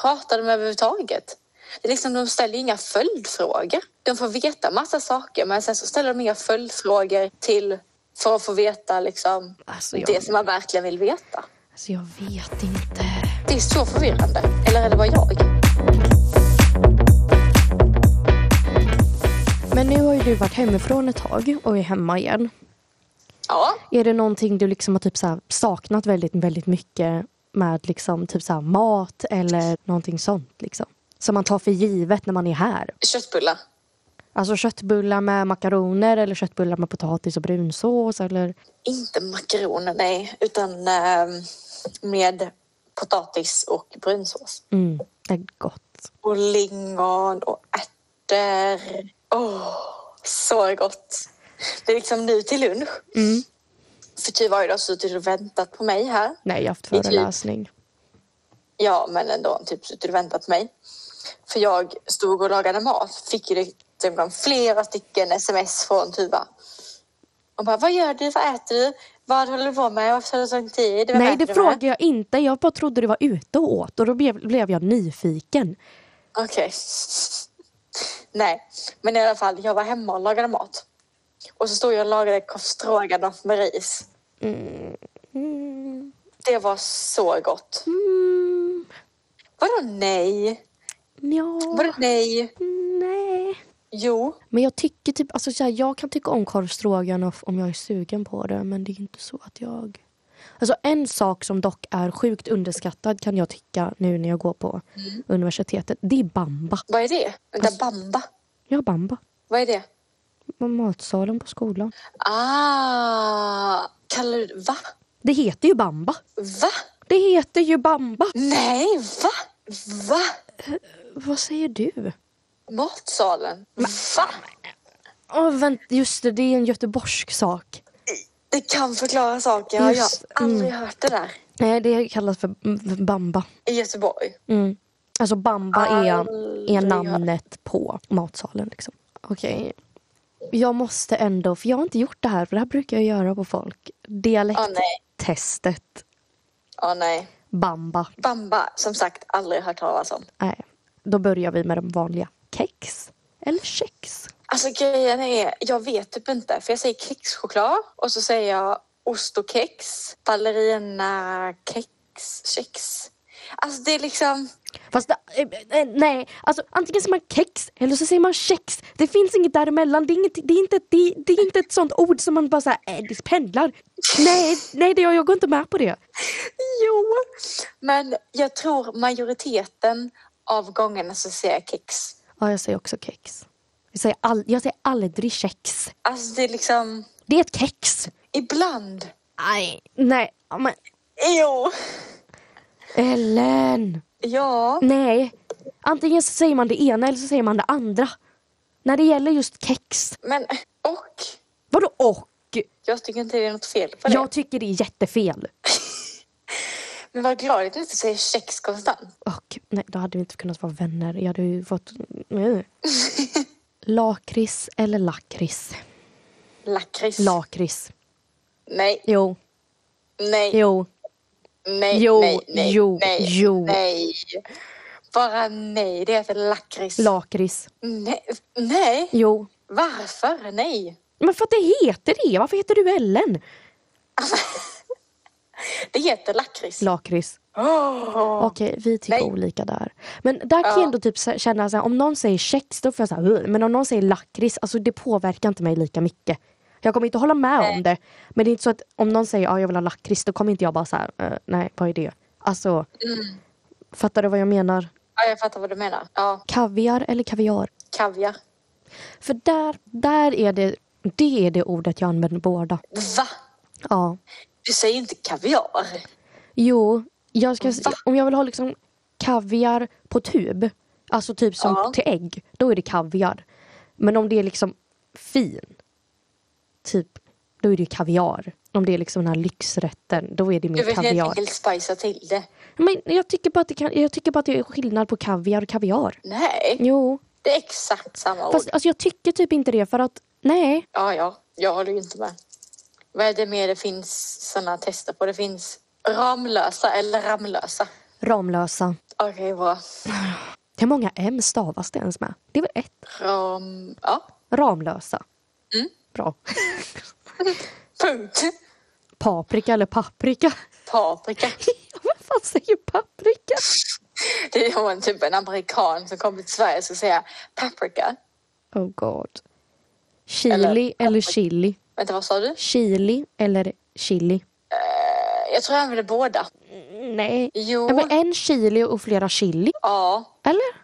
Speaker 3: Pratar de överhuvudtaget? Det är liksom, de ställer ju inga följdfrågor. De får veta massa saker men sen så ställer de inga följdfrågor till för att få veta liksom,
Speaker 2: Alltså, jag-
Speaker 3: det som man verkligen vill veta.
Speaker 2: Alltså jag vet inte.
Speaker 3: Det är så förvirrande. Eller är det bara jag?
Speaker 2: Men nu har ju du varit hemifrån ett tag och är hemma igen.
Speaker 3: Ja,
Speaker 2: Är det någonting du liksom har typ så här saknat väldigt, väldigt mycket med liksom typ så här mat eller någonting sånt? Liksom? Som man tar för givet när man är här.
Speaker 3: köttbullar.
Speaker 2: Alltså köttbullar med makaroner eller köttbullar med potatis och brunsås eller
Speaker 3: Inte makaroner, nej. Utan eh, med potatis och brunsås.
Speaker 2: mm, det är gott.
Speaker 3: Och lingon och ärtor. Åh, så gott. Det är liksom nu till lunch.
Speaker 2: Mm.
Speaker 3: För Tuva har ju då suttit och väntat på mig här.
Speaker 2: Nej, jag har haft
Speaker 3: Det är typ-
Speaker 2: föreläsning.
Speaker 3: Ja, men ändå typ suttit och väntat på mig. För jag stod och lagade mat. Fick ju liksom flera stycken sms från Tuva. Och bara, vad gör du? Vad äter du? Vad håller du på med? Varför tar det så lång tid? Vem
Speaker 2: Nej,
Speaker 3: äter
Speaker 2: det
Speaker 3: du med?"
Speaker 2: frågar jag inte. Jag bara trodde du var ute och åt och då blev, blev jag nyfiken.
Speaker 3: Okej. Nej, men i alla fall, jag var hemma och lagade mat. Och så stod jag och lagade korv stroganoff med ris. Mm. Det var så gott.
Speaker 2: Mm,
Speaker 3: Vadå nej?
Speaker 2: ja,
Speaker 3: Vadå nej?
Speaker 2: nej.
Speaker 3: Jo.
Speaker 2: Men jag tycker typ, alltså så här, jag kan tycka om korv stroganoff om jag är sugen på det men det är inte så att jag... Alltså en sak som dock är sjukt underskattad kan jag
Speaker 3: Mm.
Speaker 2: tycka nu när jag går på universitetet, det är bamba.
Speaker 3: Vad är det? Vänta, bamba?
Speaker 2: Ja, bamba.
Speaker 3: Vad är det?
Speaker 2: Matsalen på skolan.
Speaker 3: Ah, kallar du Va?
Speaker 2: Det heter ju bamba.
Speaker 3: Va?
Speaker 2: Det heter ju bamba.
Speaker 3: Nej, va? Va?
Speaker 2: Vad säger du?
Speaker 3: Matsalen? Va?
Speaker 2: Åh, vänta, just det, det är en göteborgsk sak.
Speaker 3: Det kan förklara saker. Jag har
Speaker 2: Just,
Speaker 3: aldrig hört det där.
Speaker 2: Nej, det kallas för för bamba.
Speaker 3: I Göteborg?
Speaker 2: Mm. Alltså bamba är, är
Speaker 3: Aldrig
Speaker 2: namnet på matsalen. Liksom. Okej. Jag måste ändå, för jag har inte gjort det här, för det här brukar jag göra på folk.
Speaker 3: Åh, nej.
Speaker 2: Dialekttestet.
Speaker 3: Ja, nej.
Speaker 2: Bamba.
Speaker 3: Bamba, som sagt, aldrig hört talas om.
Speaker 2: Nej. Då börjar vi med de vanliga. Kex. Eller kex.
Speaker 3: Alltså grejen är, jag vet typ inte. För jag säger kexchoklad och så säger jag ost och kex, ballerina kex, kex. Alltså det är liksom,
Speaker 2: Fast det- eh, eh, nej, alltså antingen säger man kex eller så säger man kex. Det finns inget däremellan. Det är, inget, det är, inte, det är, det är inte ett sånt ord som man bara såhär, äh, det pendlar. Nej, nej det, jag, jag går inte med på det.
Speaker 3: jo. Men jag tror majoriteten av gångerna så säger jag kex.
Speaker 2: Ja, jag säger också kex. Jag säger, all, jag säger aldrig kex.
Speaker 3: Alltså det är liksom,
Speaker 2: Det är ett kex.
Speaker 3: ibland.
Speaker 2: Nej, nej, ja, men
Speaker 3: Jo.
Speaker 2: Ellen!
Speaker 3: Ja.
Speaker 2: Nej, antingen så säger man det ena eller så säger man det andra. När det gäller just kex,
Speaker 3: Men, och.
Speaker 2: vadå och?
Speaker 3: Jag tycker inte det är något fel på det.
Speaker 2: Jag tycker det är jättefel.
Speaker 3: Men vad glad att du inte säger kex konstant.
Speaker 2: Och, nej, då hade vi inte kunnat vara vänner. Jag hade ju fått... Mm. Lakrits eller lakrits?
Speaker 3: Lakrits.
Speaker 2: Lakrits.
Speaker 3: Nej,
Speaker 2: Jo,
Speaker 3: nej.
Speaker 2: jo.
Speaker 3: Nej,
Speaker 2: Jo,
Speaker 3: nej, nej,
Speaker 2: jo,
Speaker 3: nej,
Speaker 2: jo.
Speaker 3: nej. Bara nej, det heter lakrits.
Speaker 2: Lakrits.
Speaker 3: nej, nej,
Speaker 2: Jo.
Speaker 3: varför nej?
Speaker 2: Men för att det heter det! Varför heter du Ellen?
Speaker 3: Det heter lakrits.
Speaker 2: Lakrits.
Speaker 3: Åh.
Speaker 2: Okej, vi tycker
Speaker 3: Nej.
Speaker 2: olika där. Men där kan jag
Speaker 3: Ja.
Speaker 2: ändå typ så- känna så här, om någon säger kex, då får jag så här, "Ugh." men om någon säger lakrits, alltså det påverkar inte mig lika mycket. Jag kommer inte hålla med om det. Men det är inte så att om någon säger ja, jag vill ha lakrits, då kommer inte jag bara så här, "Eh, nej, vad är det? Alltså,
Speaker 3: Mm.
Speaker 2: fattar du vad jag menar?
Speaker 3: Ja, jag fattar vad du menar. Ja,
Speaker 2: Kaviar eller kaviar?
Speaker 3: kaviar.
Speaker 2: För där, där är det, det är det ordet jag använder båda.
Speaker 3: Va?
Speaker 2: Ja.
Speaker 3: Du säger inte kaviar?
Speaker 2: Jo, jag ska,
Speaker 3: Va?
Speaker 2: om jag vill ha liksom kaviar på tub, alltså typ som
Speaker 3: Ja.
Speaker 2: till ägg, då är det kaviar. Men om det är liksom fin, typ, då är det ju kaviar. Om det är liksom den här lyxrätten, då är det
Speaker 3: Du
Speaker 2: mer
Speaker 3: vill helt
Speaker 2: kaviar.
Speaker 3: enkelt spicea till det?
Speaker 2: Men jag tycker, bara att det kan, jag tycker bara att det är skillnad på kaviar och kaviar.
Speaker 3: Nej,
Speaker 2: Jo,
Speaker 3: det är exakt samma ord.
Speaker 2: fast alltså, jag tycker typ inte det för att, nej.
Speaker 3: Ja, ja, jag håller ju inte med. Vad är det mer det finns sådana tester på? Det finns Ramlösa eller Ramlösa.
Speaker 2: Ramlösa.
Speaker 3: Okej, bra.
Speaker 2: Hur många M stavas det ens med? Det är väl ett?
Speaker 3: Ram... Ja,
Speaker 2: Ramlösa.
Speaker 3: Mm.
Speaker 2: Bra.
Speaker 3: punkt.
Speaker 2: Paprika eller paprika?
Speaker 3: Paprika.
Speaker 2: Vad fan säger paprika?
Speaker 3: Det är om en, typ en amerikan som kommer till Sverige och ska säga paprika.
Speaker 2: Oh god. Chili
Speaker 3: Eller
Speaker 2: eller, chili?
Speaker 3: Vänta, vad sa du?
Speaker 2: Chili eller chili?
Speaker 3: Eh, Jag tror jag använder båda.
Speaker 2: Nej.
Speaker 3: Jo.
Speaker 2: Ja, men en chili och flera chili?
Speaker 3: Ja.
Speaker 2: Eller?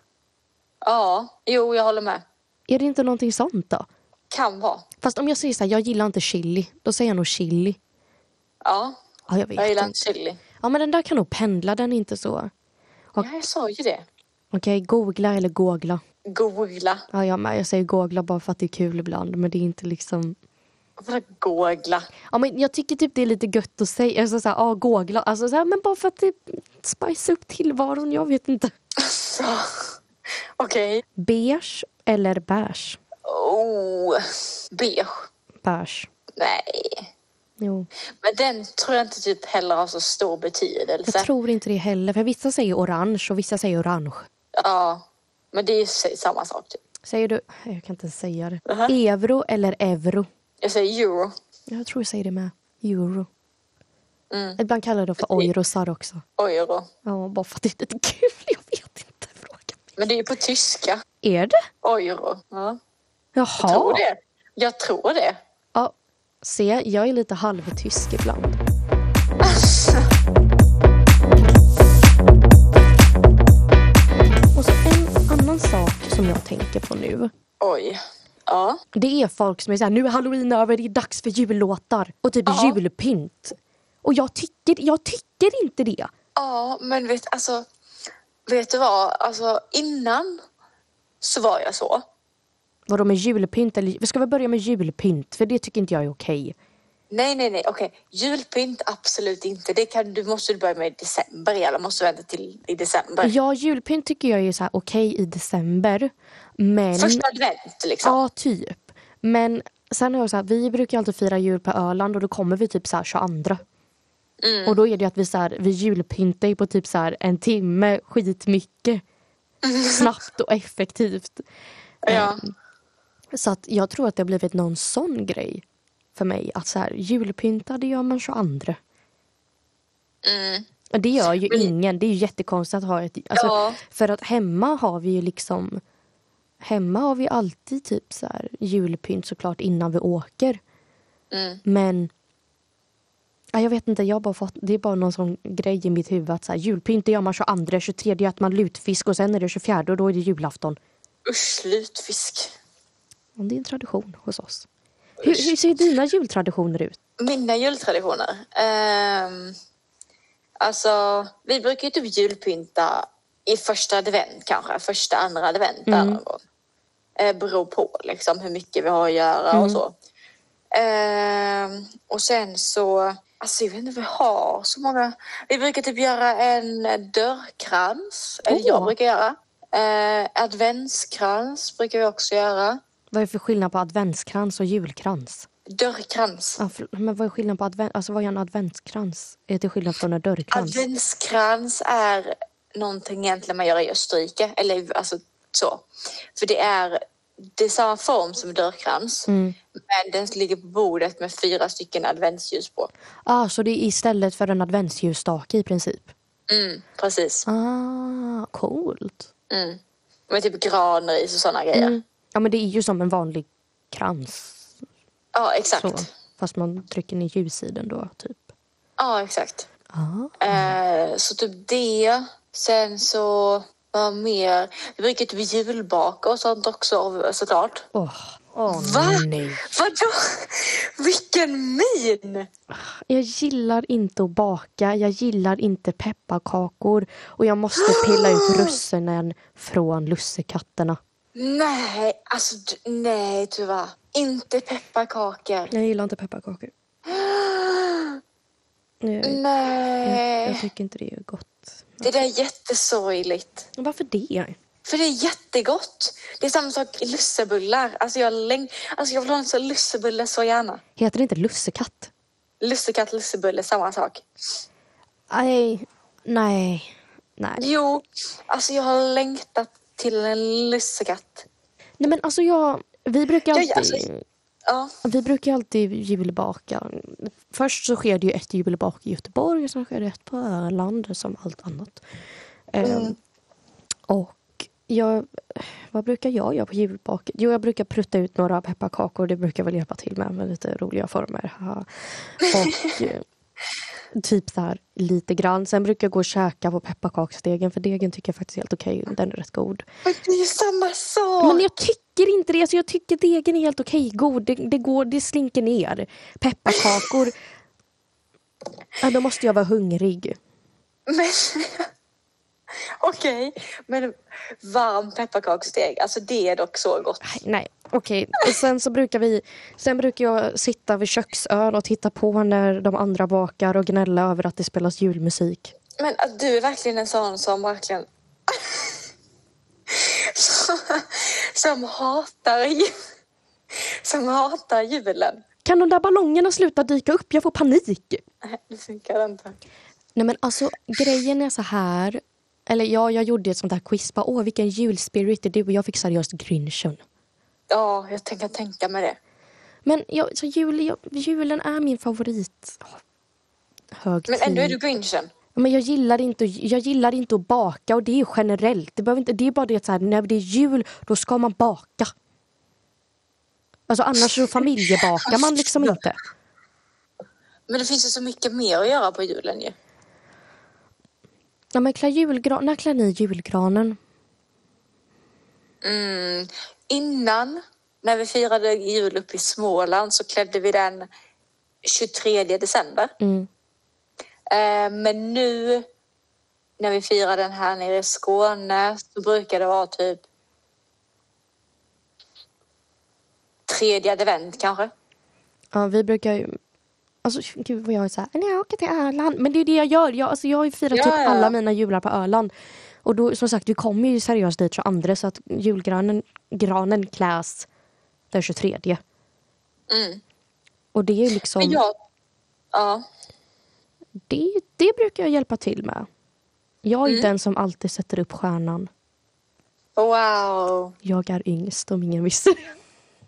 Speaker 3: Ja. Jo, jag håller med.
Speaker 2: Är det inte någonting sånt då?
Speaker 3: Kan vara.
Speaker 2: Fast om jag säger så här, jag gillar inte chili. Då säger jag nog chili.
Speaker 3: Ja.
Speaker 2: Ja, jag vet
Speaker 3: Jag gillar
Speaker 2: inte.
Speaker 3: inte chili.
Speaker 2: Ja, men den där kan nog pendla. Den är inte så...
Speaker 3: Ja, jag sa ju det.
Speaker 2: Okej, googla eller googla.
Speaker 3: Googla.
Speaker 2: Ja, jag med. Jag säger googla bara för att det är kul ibland. Men det är inte liksom...
Speaker 3: Vadå googla?
Speaker 2: Ja, men jag tycker typ det är lite gött att säga, alltså, såhär, ah, googla, alltså, såhär, men bara för att det spice upp tillvaron, jag vet inte.
Speaker 3: Så. Okej.
Speaker 2: Beige eller beige?
Speaker 3: Oh. Beige.
Speaker 2: Beige.
Speaker 3: Nej.
Speaker 2: Jo.
Speaker 3: Men den tror jag inte typ heller har så stor
Speaker 2: Jag
Speaker 3: betydelse.
Speaker 2: tror inte det heller, för vissa säger orange och vissa säger orange.
Speaker 3: Ja. Men det är ju s- samma sak typ.
Speaker 2: Säger du, jag kan inte ens säga det.
Speaker 3: Aha.
Speaker 2: Euro eller euro?
Speaker 3: Jag säger euro.
Speaker 2: Jag tror jag säger det med. Euro.
Speaker 3: Mm.
Speaker 2: Ibland kallar jag det för eurosar också.
Speaker 3: Euro.
Speaker 2: Ja, bara för att det är lite kul, jag vet inte. Fråga mig.
Speaker 3: Men det är ju på tyska.
Speaker 2: Är det?
Speaker 3: Euro. Ja.
Speaker 2: Jaha.
Speaker 3: Tror det. Jag tror det.
Speaker 2: Ja, se, jag är lite halvtysk ibland. Och så en annan sak som jag tänker på nu.
Speaker 3: Oj. Ja.
Speaker 2: Det är folk som är såhär, nu är halloween över, det är dags för jullåtar och typ
Speaker 3: Ja.
Speaker 2: julpynt. Och jag tycker, jag tycker inte det.
Speaker 3: Ja, men vet, alltså, vet du vad? Alltså, innan så var jag så.
Speaker 2: Vadå med julpynt eller, ska vi börja med julpynt? För det tycker inte jag är okej.
Speaker 3: Nej, nej, nej. Okej, julpynt absolut inte. Det kan, du måste börja med i december. Eller måste vänta till i december.
Speaker 2: Ja, julpynt tycker jag är så här okej i december. Men...
Speaker 3: Första advent liksom.
Speaker 2: Ja, typ. Men sen är jag så här, vi brukar ju alltid fira jul på Öland och då kommer vi typ så här 22. Och då är det ju att vi, så här, vi julpyntar ju på typ så här en timme, skitmycket. Snabbt och effektivt.
Speaker 3: Ja.
Speaker 2: Så att jag tror att det har blivit någon sån grej för mig. Att så här, julpynta, det gör man 22.
Speaker 3: Mm.
Speaker 2: Och Det gör ju ingen. Det är ju jättekonstigt att ha ett... Alltså,
Speaker 3: Ja.
Speaker 2: För att hemma har vi ju liksom... Hemma har vi alltid typ så här julpynt såklart innan vi åker.
Speaker 3: Mm.
Speaker 2: Men... Ja, jag vet inte, jag har bara fått, det är bara någon sån grej i mitt huvud att så här, julpynt det gör man 22, 23 gör man lutfisk och sen är det 24 och då är det julafton.
Speaker 3: Usch, lutfisk.
Speaker 2: Och det är en tradition hos oss. Hur, hur ser dina jultraditioner ut?
Speaker 3: Mina jultraditioner? Ehm, alltså, vi brukar ju typ julpynta i första advent kanske. Första, andra advent där någon gång. Eh, beror på liksom hur mycket vi har att göra och så. Ehm, och sen så, alltså jag vet inte om vi har så många. Vi brukar typ göra en dörrkrans. Eller jag
Speaker 2: Åh.
Speaker 3: brukar göra. Eh, adventskrans brukar vi också göra.
Speaker 2: Vad är det för skillnad på adventskrans och julkrans?
Speaker 3: Dörrkrans.
Speaker 2: Ja, för, men vad är skillnaden på advent, alltså vad är en adventskrans? Är det skillnad från en dörrkrans?
Speaker 3: Adventskrans är någonting egentligen man gör i Österrike. Eller alltså så. För det är, det är samma form som dörrkrans. Men den ligger på bordet med fyra stycken adventsljus på.
Speaker 2: Ah, så det är istället för en adventsljusstake i princip?
Speaker 3: Mm, precis.
Speaker 2: Ah, coolt.
Speaker 3: Mm. Med typ granris och sådana grejer.
Speaker 2: Ja, men det är ju som en vanlig krans.
Speaker 3: Ja, exakt.
Speaker 2: Så, fast man trycker ner ljus i den då, typ.
Speaker 3: Ja, exakt.
Speaker 2: Ah.
Speaker 3: Eh, så typ det. Sen så, vad mer? Vi brukar typ julbaka och sånt också av- såklart.
Speaker 2: Åh, åh,
Speaker 3: Va?
Speaker 2: nej.
Speaker 3: Vadå? Vilken min!
Speaker 2: Jag gillar inte att baka, jag gillar inte pepparkakor och jag måste pilla ut russinen från lussekatterna.
Speaker 3: Nej, alltså du- nej tyvärr. Inte pepparkakor.
Speaker 2: Jag gillar inte pepparkakor. Nej, jag
Speaker 3: Nej,
Speaker 2: tycker inte det är gott.
Speaker 3: det där är jättesorgligt.
Speaker 2: Varför det?
Speaker 3: För det är jättegott. Det är samma sak i lussebullar. Alltså jag, läng- alltså jag vill ha en sån lussebulle så gärna.
Speaker 2: Heter det inte lussekatt?
Speaker 3: Lussekatt, lussebulle, samma sak.
Speaker 2: Nej, nej, nej.
Speaker 3: Jo, alltså jag har längtat till en lussekatt.
Speaker 2: Nej men alltså jag, vi brukar
Speaker 3: Jag-
Speaker 2: alltid,
Speaker 3: alltså- Ja,
Speaker 2: vi brukar alltid julbaka. Först så sker det ju ett julbak i Göteborg och sen sker det ett på Öland som allt annat. Ehm, och jag, vad brukar jag göra på julbaket? Jo jag brukar prutta ut några pepparkakor, det brukar jag väl hjälpa till med med lite roliga former. haha. Och eh, typ så här lite grann. Sen brukar jag gå och käka på pepparkaksdegen för degen tycker jag faktiskt är helt okej, den är rätt god.
Speaker 3: men det är ju samma sak.
Speaker 2: Men jag tycker inte det. Alltså jag tycker degen är helt okej god. Det, det, går, det slinker ner. Pepparkakor. ja, då måste jag vara hungrig.
Speaker 3: Men... Okej, men varm pepparkaksdeg, alltså det är dock så gott.
Speaker 2: Nej, okej. Och sen så brukar vi... Sen brukar jag sitta vid köksön och titta på när de andra bakar och gnälla över att det spelas julmusik.
Speaker 3: Men att du är verkligen en sån som verkligen... som, som hatar ju- Som hatar julen.
Speaker 2: Kan de där ballongerna sluta dyka upp? Jag får panik.
Speaker 3: Nej, det funkar inte.
Speaker 2: Nej men alltså grejen är så här. Eller ja, jag gjorde ett sånt här quiz. Bara, Åh, vilken julspirit är du? Och jag fick seriöst grinchen.
Speaker 3: Ja, jag tänker tänka mig det.
Speaker 2: Men jag, så jul, jag, julen är min favorit högtid.
Speaker 3: Men ändå är du grinchen.
Speaker 2: Men jag gillar inte, jag gillar inte att baka och det är ju generellt. Det, behöver inte, det är bara det att så här, när det är jul då ska man baka. Alltså annars så familjebakar man liksom inte.
Speaker 3: Men det finns ju så mycket mer att göra på julen ju.
Speaker 2: Ja, men klä julgran, när klär ni julgranen?
Speaker 3: Mm, innan, när vi firade jul uppe i Småland, så klädde vi den 23 december.
Speaker 2: Mm.
Speaker 3: Eh, Men nu när vi firar den här nere i Skåne så brukar det vara typ tredje advent kanske.
Speaker 2: Ja, vi brukar ju... Alltså gud vad jag är såhär, nej jag åker till Öland. Men det är ju det jag gör. Jag, alltså, jag har ju firat
Speaker 3: Ja,
Speaker 2: typ
Speaker 3: ja.
Speaker 2: alla mina jular på Öland. Och då, som sagt, vi kommer ju seriöst dit 22 så att julgranen granen kläs den 23.
Speaker 3: Mm.
Speaker 2: Och det är ju liksom,
Speaker 3: Men jag, ja,
Speaker 2: det, det brukar jag hjälpa till med. Jag är
Speaker 3: Mm.
Speaker 2: ju den som alltid sätter upp stjärnan.
Speaker 3: wow.
Speaker 2: Jag är yngst om ingen visste det.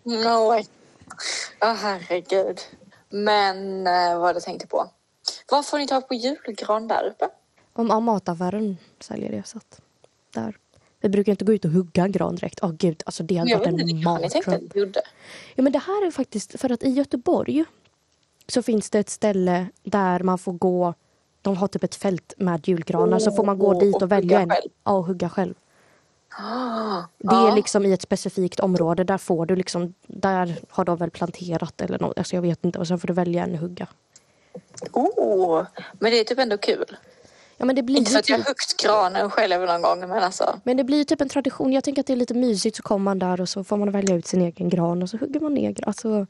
Speaker 3: No way. Ja, herregud. Men eh, vad jag tänkte på. Vad får ni tag på julgran där uppe?
Speaker 2: Om om mataffären säljer det så att, där. Vi brukar ju inte gå ut och hugga en gran direkt. Åh gud, alltså det hade
Speaker 3: Jag
Speaker 2: varit
Speaker 3: vet inte
Speaker 2: en
Speaker 3: vilken ni tänkte
Speaker 2: mardröm.
Speaker 3: att ni gjorde.
Speaker 2: Ja, men det här är faktiskt för att i Göteborg så finns det ett ställe där man får gå. De har typ ett fält med julgranar så får man gå
Speaker 3: Åh,
Speaker 2: dit och,
Speaker 3: och
Speaker 2: välja
Speaker 3: hugga
Speaker 2: en.
Speaker 3: själv.
Speaker 2: Ja, och hugga själv.
Speaker 3: Ah,
Speaker 2: Det
Speaker 3: ja.
Speaker 2: är liksom i ett specifikt område. Där får du liksom, där har de väl planterat eller något. Alltså jag vet inte. Och sen får du välja en hugga.
Speaker 3: oh, men det är typ ändå kul.
Speaker 2: Ja, men det blir
Speaker 3: Inte för
Speaker 2: ju
Speaker 3: att jag
Speaker 2: typ,
Speaker 3: har högt granen själv någon gång, men alltså.
Speaker 2: men det blir ju typ en tradition. Jag tänker att det är lite mysigt. Så kommer man där och så får man välja ut sin egen gran och så hugger man ner. gran. Alltså,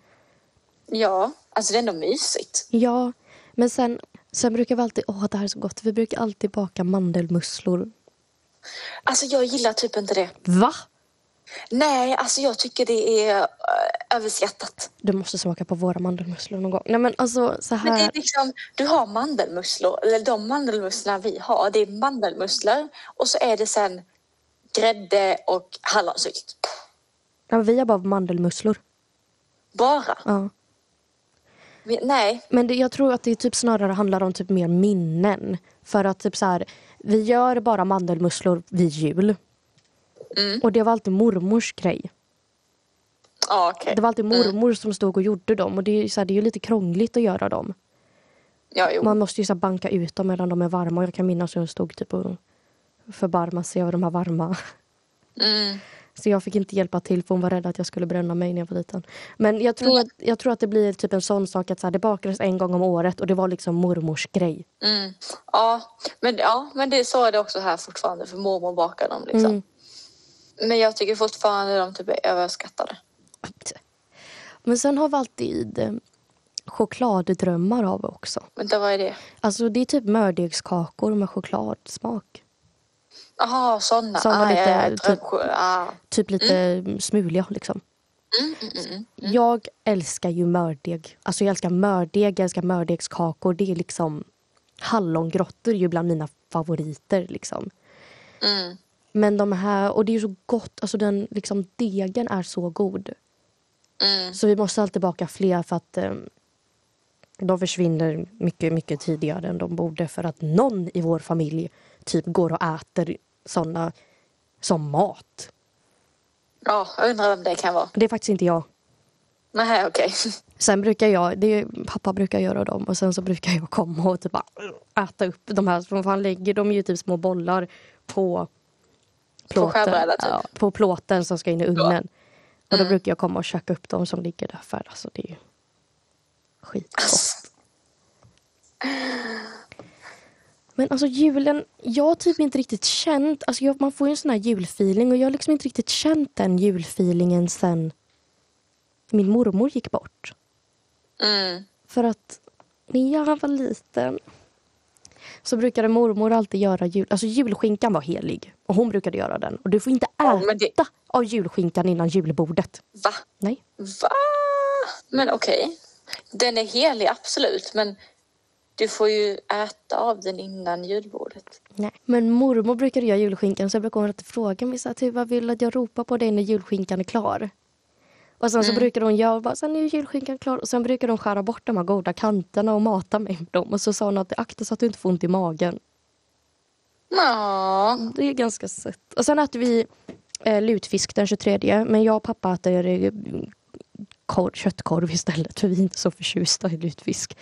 Speaker 3: Ja, alltså det är ändå mysigt.
Speaker 2: Ja, men sen, sen brukar vi alltid, åh det här är så gott, vi brukar alltid baka mandelmusslor.
Speaker 3: Alltså jag gillar typ inte det.
Speaker 2: Va?
Speaker 3: Nej, alltså jag tycker det är eh, överskattat.
Speaker 2: Du måste smaka på våra mandelmusslor någon gång. Nej men alltså så
Speaker 3: Men det är
Speaker 2: här.
Speaker 3: liksom, du har mandelmusslor, eller de mandelmusslorna vi har, det är mandelmusslor och så är det sen grädde och hallonsylt.
Speaker 2: Ja, vi har bara mandelmusslor.
Speaker 3: Bara.
Speaker 2: Ja.
Speaker 3: Vi- Nej,
Speaker 2: Men det, jag tror att det typ snarare handlar om typ mer minnen. För att typ så här, vi gör bara mandelmusslor vid jul.
Speaker 3: Mm.
Speaker 2: Och det var alltid mormors grej.
Speaker 3: ja okej.
Speaker 2: Det var alltid mormor som stod och gjorde dem. Och det är ju så här, det är ju lite krångligt att göra dem.
Speaker 3: Ja, jo.
Speaker 2: Man måste ju så här banka ut dem medan de är varma. Och jag kan minnas hur jag stod typ och förbarmade sig över de här varma.
Speaker 3: Mm.
Speaker 2: Så jag fick inte hjälpa till för hon var rädd att jag skulle bränna mig när jag var liten. Men jag tror, att, jag tror att det blir typ en sån sak att så här, det bakades en gång om året och det var liksom mormors grej.
Speaker 3: Mm. Ja, men, ja, men det, är- så är det också här fortfarande för mormor bakar dem. Liksom.
Speaker 2: Mm.
Speaker 3: Men jag tycker fortfarande de typ är överskattade.
Speaker 2: Men sen har vi alltid eh, chokladdrömmar har vi också.
Speaker 3: Vänta, vad är det?
Speaker 2: Alltså det är typ mördegskakor med chokladsmak.
Speaker 3: Jaha, sådana.
Speaker 2: Såna
Speaker 3: ah,
Speaker 2: lite,
Speaker 3: ja, ja,
Speaker 2: typ-
Speaker 3: drömsjö- ah.
Speaker 2: Typ lite mm. smuliga liksom.
Speaker 3: mm, mm, mm.
Speaker 2: Jag älskar ju mördeg. Alltså jag älskar mördeg, jag älskar mördegskakor. Det är liksom hallongrottor är ju bland mina favoriter liksom.
Speaker 3: Mm.
Speaker 2: Men de här, och det är ju så gott, alltså den liksom degen är så god.
Speaker 3: Mm.
Speaker 2: Så vi måste alltid baka fler för att eh, de försvinner mycket, mycket tidigare än de borde för att någon i vår familj typ går och äter såna som mat.
Speaker 3: Ja, jag undrar vem det kan vara.
Speaker 2: Det är faktiskt inte jag.
Speaker 3: Nej, okej.
Speaker 2: Sen brukar jag, det är, pappa brukar göra dem och sen så brukar jag komma och typ bara äta upp de här. För han lägger dem ju typ små bollar på plåten,
Speaker 3: skärbrädan, typ.
Speaker 2: ja, på plåten som ska in i ugnen. Och då brukar jag komma och käka upp dem som ligger där för alltså det är ju skitgott. Men alltså julen, jag har typ inte riktigt känt, alltså jag, man får ju en sån här julfeeling och jag har liksom inte riktigt känt den julfeelingen sen min mormor gick bort.
Speaker 3: Mm.
Speaker 2: För att när jag var liten så brukade mormor alltid göra jul... Alltså julskinkan var helig. Och hon brukade göra den. Och du får inte
Speaker 3: Ja,
Speaker 2: äta
Speaker 3: men det-
Speaker 2: av julskinkan innan julbordet.
Speaker 3: Va?
Speaker 2: Nej.
Speaker 3: Va? Men okej. Den är helig, absolut. Men du får ju äta av den innan julbordet.
Speaker 2: Nej. Men mormor brukade göra julskinkan så jag brukade hon alltid fråga mig så här, typ, vad vill du att jag ropar på dig när julskinkan är klar? Och sen så brukade hon göra, bara, sen är ju julskinkan klar. Och sen brukade hon skära bort de här goda kanterna och mata mig med dem. Och så sa hon att akta så att du inte får ont i magen.
Speaker 3: Ja.
Speaker 2: Det är ganska sött. Och sen äter vi eh, lutfisk den 23. Men jag och pappa äter eh, korv, köttkorv istället. För vi är inte så förtjusta i lutfisk.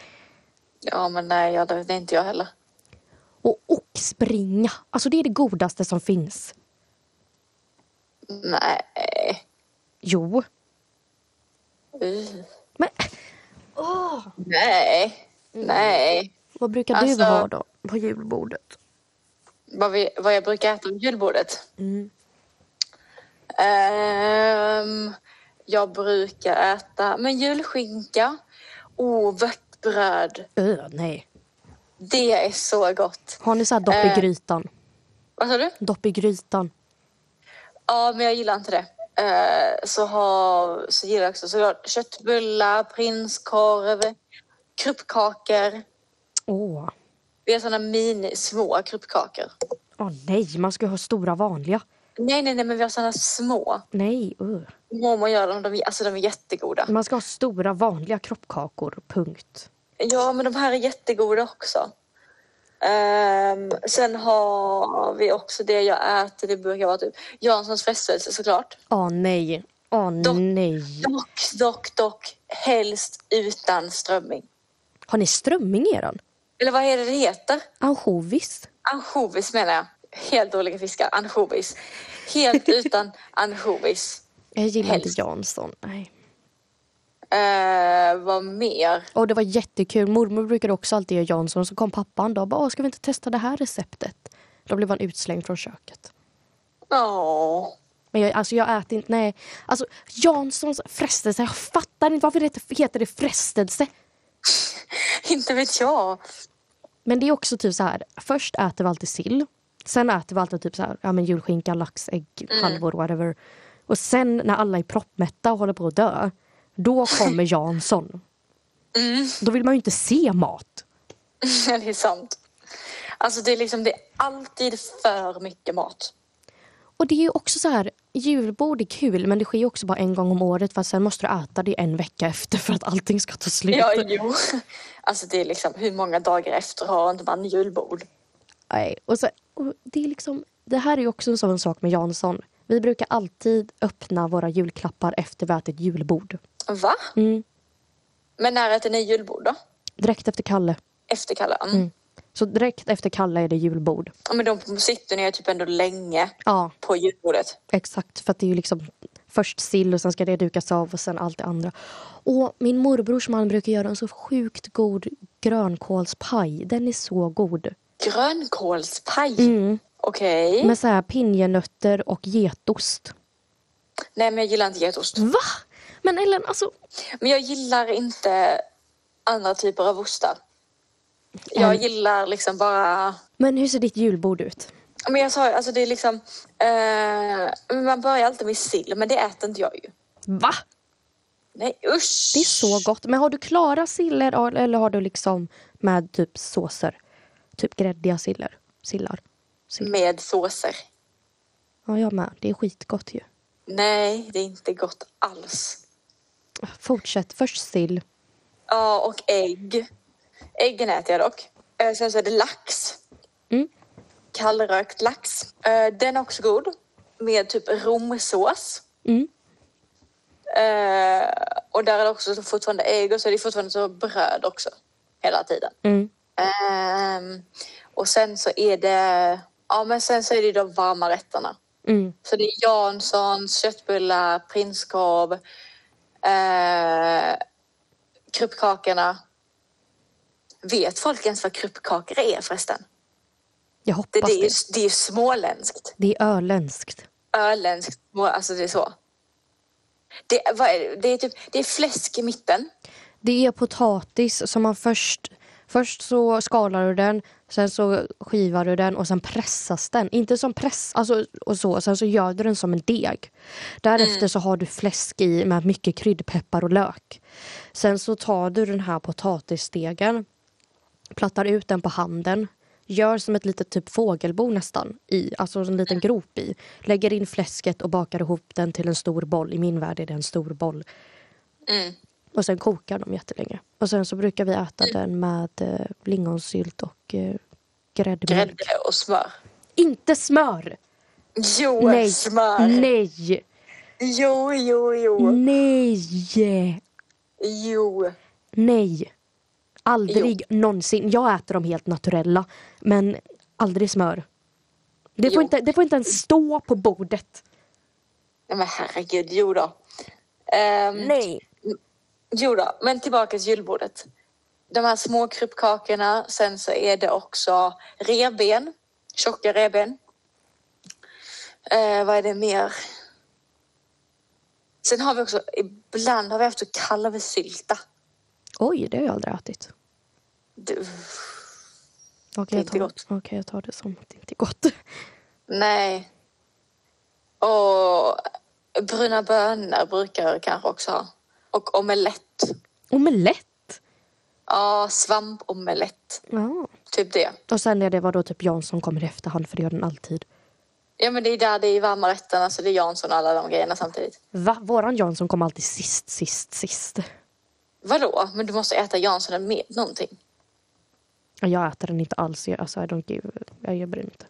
Speaker 3: Ja, men nej, ja, det det är inte jag heller.
Speaker 2: Och oxbringa. Alltså det är det godaste som finns.
Speaker 3: Nej.
Speaker 2: Jo.
Speaker 3: Uh.
Speaker 2: Men åh,
Speaker 3: Nej, nej.
Speaker 2: vad brukar
Speaker 3: Alltså-
Speaker 2: du ha då på julbordet?
Speaker 3: Vad, vi, vad jag brukar äta vid julbordet? Ehm, jag brukar äta men julskinka och vörtbröd.
Speaker 2: Öh, nej.
Speaker 3: Det är så gott.
Speaker 2: Har ni så här dopp
Speaker 3: Eh.
Speaker 2: i grytan?
Speaker 3: Vad sa du?
Speaker 2: Dopp i grytan.
Speaker 3: Ja, men jag gillar inte det. Eh, så, har, så gillar jag också så jag har köttbullar, prinskorv, kruppkakor.
Speaker 2: Åh.
Speaker 3: Det är såna mini, små kruppkakor.
Speaker 2: Åh nej, man ska ju ha stora vanliga.
Speaker 3: Nej, nej, nej, men vi har såna små.
Speaker 2: Nej, öh.
Speaker 3: Mormor gör dem, de, är- alltså de är jättegoda.
Speaker 2: Man ska ha stora vanliga kroppkakor, punkt.
Speaker 3: Ja, men de här är jättegoda också. Ehm, sen har vi också det jag äter, det brukar vara typ Janssons frestelse såklart.
Speaker 2: Åh nej. Åh
Speaker 3: Dopp.
Speaker 2: nej.
Speaker 3: Dock, dock, dock, helst utan strömming.
Speaker 2: Har ni strömming i eran?
Speaker 3: Eller vad är det det heter?
Speaker 2: Ansjovis?
Speaker 3: Ansjovis menar jag. Helt dåliga fiskar, ansjovis. Helt utan ansjovis.
Speaker 2: Jag gillar inte
Speaker 3: Helst.
Speaker 2: Jansson. Nej.
Speaker 3: Eh, vad mer?
Speaker 2: Och det var jättekul. Mormor brukade också alltid göra Jansson. Så kom pappan då och bara, "Åh, ska vi inte testa det här receptet? Då blev han utslängd från köket.
Speaker 3: Ja,
Speaker 2: Men jag, alltså jag äter inte, nej. Alltså Janssons frestelse, jag fattar inte varför det heter- heter det frestelse.
Speaker 3: inte vet jag.
Speaker 2: Men det är också typ så här, först äter vi alltid sill. Sen äter vi alltid typ så här, ja men julskinka, lax, ägg, halvor, whatever. Och sen när alla är proppmätta och håller på att dö, då kommer Jansson. Då vill man ju inte se mat.
Speaker 3: det är sant. Alltså det är liksom, det är alltid för mycket mat.
Speaker 2: Och det är ju också så här, julbord är kul men det sker ju också bara en gång om året för att sen måste du äta det en vecka efter för att allting ska ta slut.
Speaker 3: Ja, jo. Alltså det är liksom, hur många dagar efter har inte man julbord?
Speaker 2: Nej, och så, och det, är liksom, det här är ju också en sån sak med Jansson. Vi brukar alltid öppna våra julklappar efter vi ätit julbord.
Speaker 3: Va?
Speaker 2: Mm.
Speaker 3: Men när äter ni julbord då?
Speaker 2: Direkt efter Kalle.
Speaker 3: Efter kallan?
Speaker 2: Mm. Så direkt efter Kalle är det julbord.
Speaker 3: Ja, Men de sitter ni ju typ ändå länge
Speaker 2: Ja,
Speaker 3: på julbordet.
Speaker 2: exakt. För att det är ju liksom först sill och sen ska det dukas av och sen allt det andra. Och min morbrors man brukar göra en så sjukt god grönkålspaj. Den är så god.
Speaker 3: Grönkålspaj?
Speaker 2: Mm.
Speaker 3: Okej.
Speaker 2: Med så här pinjenötter och getost.
Speaker 3: Nej, men jag gillar inte getost.
Speaker 2: Va? Men Ellen, alltså.
Speaker 3: Men jag gillar inte andra typer av ostar. Jag gillar liksom bara...
Speaker 2: Men hur ser ditt julbord ut?
Speaker 3: Men jag sa ju, alltså det är liksom... Eh, men man börjar alltid med sill, men det äter inte jag ju.
Speaker 2: Va?
Speaker 3: Nej, usch!
Speaker 2: Det är så gott. Men har du klara siller eller har du liksom med typ såser? Typ gräddiga siller. sillar? Sill.
Speaker 3: Med såser.
Speaker 2: Ja, jag med. Det är skitgott ju.
Speaker 3: Nej, det är inte gott alls.
Speaker 2: Fortsätt. Först sill.
Speaker 3: Ja, och ägg. Äggen äter jag dock. Eh, Sen så är det lax.
Speaker 2: Mm.
Speaker 3: Kallrökt lax. Eh, Den är också god. Med typ romsås.
Speaker 2: Mm.
Speaker 3: Eh, Och där är det också så fortfarande ägg och så är det fortfarande så bröd också. Hela tiden.
Speaker 2: Mm.
Speaker 3: Ehm, och sen så är det... Ja, men sen så är det de varma rätterna.
Speaker 2: Mm.
Speaker 3: Så det är Janssons, köttbullar, prinskorv, eh, kruppkakorna. Vet folk ens vad kruppkakor är förresten?
Speaker 2: Jag
Speaker 3: Det,
Speaker 2: hoppas
Speaker 3: det, är, ju,
Speaker 2: det.
Speaker 3: det är ju småländskt,
Speaker 2: Det är öländskt.
Speaker 3: öländskt, små- alltså det är så. Det, vad är, det? det, är typ, det är fläsk i mitten.
Speaker 2: Det är potatis som man först... Först så skalar du den, sen så skivar du den och sen pressas den. Inte som press, alltså och så. Sen så gör du den som en deg. Därefter så har du fläsk i med mycket kryddpeppar och lök. Sen så tar du den här potatisdegen, plattar ut den på handen, gör som ett litet typ fågelbo nästan, i, alltså en liten grop i. Lägger in fläsket och bakar ihop den till en stor boll. I min värld är det en stor boll. Mm. Och sen kokar de jättelänge. Och sen så brukar vi äta den med eh, lingonsylt och eh, gräddmjölk.
Speaker 3: Grädde och smör.
Speaker 2: Inte smör!
Speaker 3: Jo,
Speaker 2: Nej!
Speaker 3: smör!
Speaker 2: Nej! Mm.
Speaker 3: Jo, jo, jo.
Speaker 2: Nej!
Speaker 3: Jo.
Speaker 2: Nej! Aldrig någonsin. Jag äter dem helt naturella. Men aldrig smör. Det
Speaker 3: Jo.
Speaker 2: får, inte, det får inte ens stå på bordet.
Speaker 3: Nej men herregud, jo då. Ehm,
Speaker 4: Nej.
Speaker 3: Jo då, men tillbaka till julbordet. De här små kryppkakorna, sen så är det också revben, tjocka revben. Eh, vad är det mer? Sen har vi också, ibland har vi haft så kalvsylta.
Speaker 2: Oj, det har jag aldrig ätit.
Speaker 3: Du,
Speaker 2: Okej,
Speaker 3: Det är
Speaker 2: jag,
Speaker 3: inte
Speaker 2: tar-
Speaker 3: gott.
Speaker 2: okej, jag tar det som att det inte är gott.
Speaker 3: nej. Och bruna bönor brukar jag kanske också ha. Och omelett.
Speaker 2: Omelett!
Speaker 3: Ja, svampomelett.
Speaker 2: Ja.
Speaker 3: Typ det.
Speaker 2: Och sen är det vad då typ Jansson kommer i efterhand, för det gör den alltid.
Speaker 3: Ja men det är där det är i varma rätterna så det är Jansson och alla de grejerna samtidigt.
Speaker 2: Va? Våran Jansson kommer alltid sist, sist, sist.
Speaker 3: Vadå? Men du måste äta Janssonen med någonting.
Speaker 2: Ja, Jag äter den inte alls. Jag, alltså, I don't give, jag, jag bryr mig inte.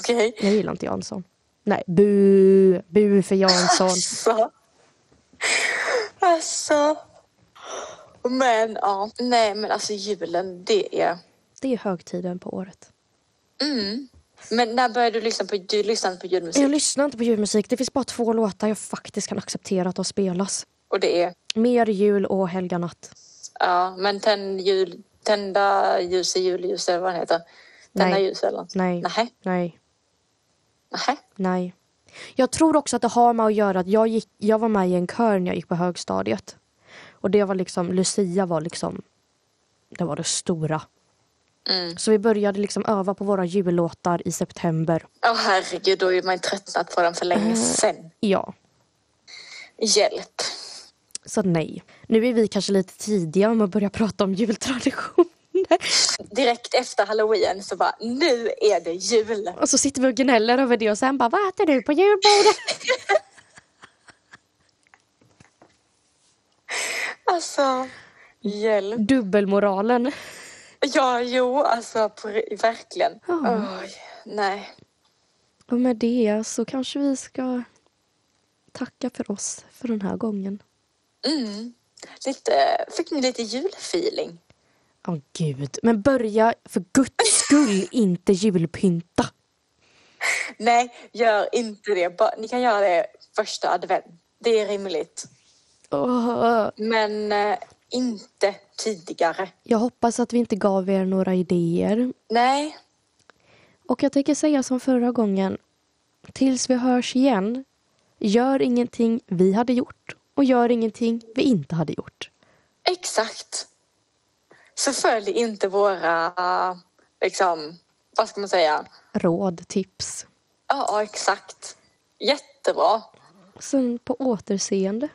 Speaker 3: Okej?
Speaker 2: Jag gillar inte Jansson. Nej, bu! Bu för Jansson.
Speaker 3: Alltså. Alltså. Men ja. Nej men alltså julen det är...
Speaker 2: Det är högtiden på året.
Speaker 3: Mm. Men när började du lyssna på, du lyssnade på julmusik?
Speaker 2: Jag lyssnar inte på julmusik. Det finns bara två låtar jag faktiskt kan acceptera att de spelas.
Speaker 3: Och det är...
Speaker 2: Mer jul och helga natt.
Speaker 3: Ja men tänd jul, tända ljus i julljus eller vad den heter. Tända
Speaker 2: Nej.
Speaker 3: ljus eller något.
Speaker 2: Nej.
Speaker 3: Nähä.
Speaker 2: Nej.
Speaker 3: Nähä.
Speaker 2: Nej. Jag tror också att det har med att göra att jag, gick, jag var med i en kör när jag gick på högstadiet. Och det var liksom, Lucia var liksom, det var det stora.
Speaker 3: Mm.
Speaker 2: Så vi började liksom öva på våra jullåtar i september.
Speaker 3: Åh herregud då är man ju tröttnat på den för
Speaker 2: Mm.
Speaker 3: länge sen.
Speaker 2: Ja,
Speaker 3: Hjälp.
Speaker 2: så nej. Nu är vi kanske lite tidiga med att börja prata om jultraditioner.
Speaker 3: direkt efter halloween så bara nu är det jul.
Speaker 2: Och så sitter vi och gnäller över det och sen bara, vad äter du på julbordet?
Speaker 3: Alltså hjälp.
Speaker 2: Dubbelmoralen.
Speaker 3: Ja, jo, alltså på, verkligen.
Speaker 2: Ja.
Speaker 3: Oj, nej.
Speaker 2: Och med det så kanske vi ska tacka för oss för den här gången.
Speaker 3: Mm. Lite, fick ni lite julfeeling?
Speaker 2: Åh gud, men börja för guds skull inte julpynta.
Speaker 3: Nej, gör inte det. Bara- Ni kan göra det första advent. Det är rimligt.
Speaker 2: Åh,
Speaker 3: Men eh, inte tidigare.
Speaker 2: jag hoppas att vi inte gav er några idéer.
Speaker 3: Nej,
Speaker 2: Och jag tänker säga som förra gången, tills vi hörs igen, gör ingenting vi hade gjort och gör ingenting vi inte hade gjort.
Speaker 3: exakt. Så följ inte våra, liksom, vad ska man säga?
Speaker 2: Råd, tips.
Speaker 3: Ja, exakt. Jättebra.
Speaker 2: Sen på återseende.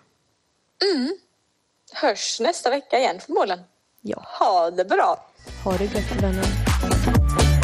Speaker 3: Hörs nästa vecka igen förmodligen.
Speaker 2: Ja,
Speaker 3: Ha det bra.
Speaker 2: ha det gött vänner.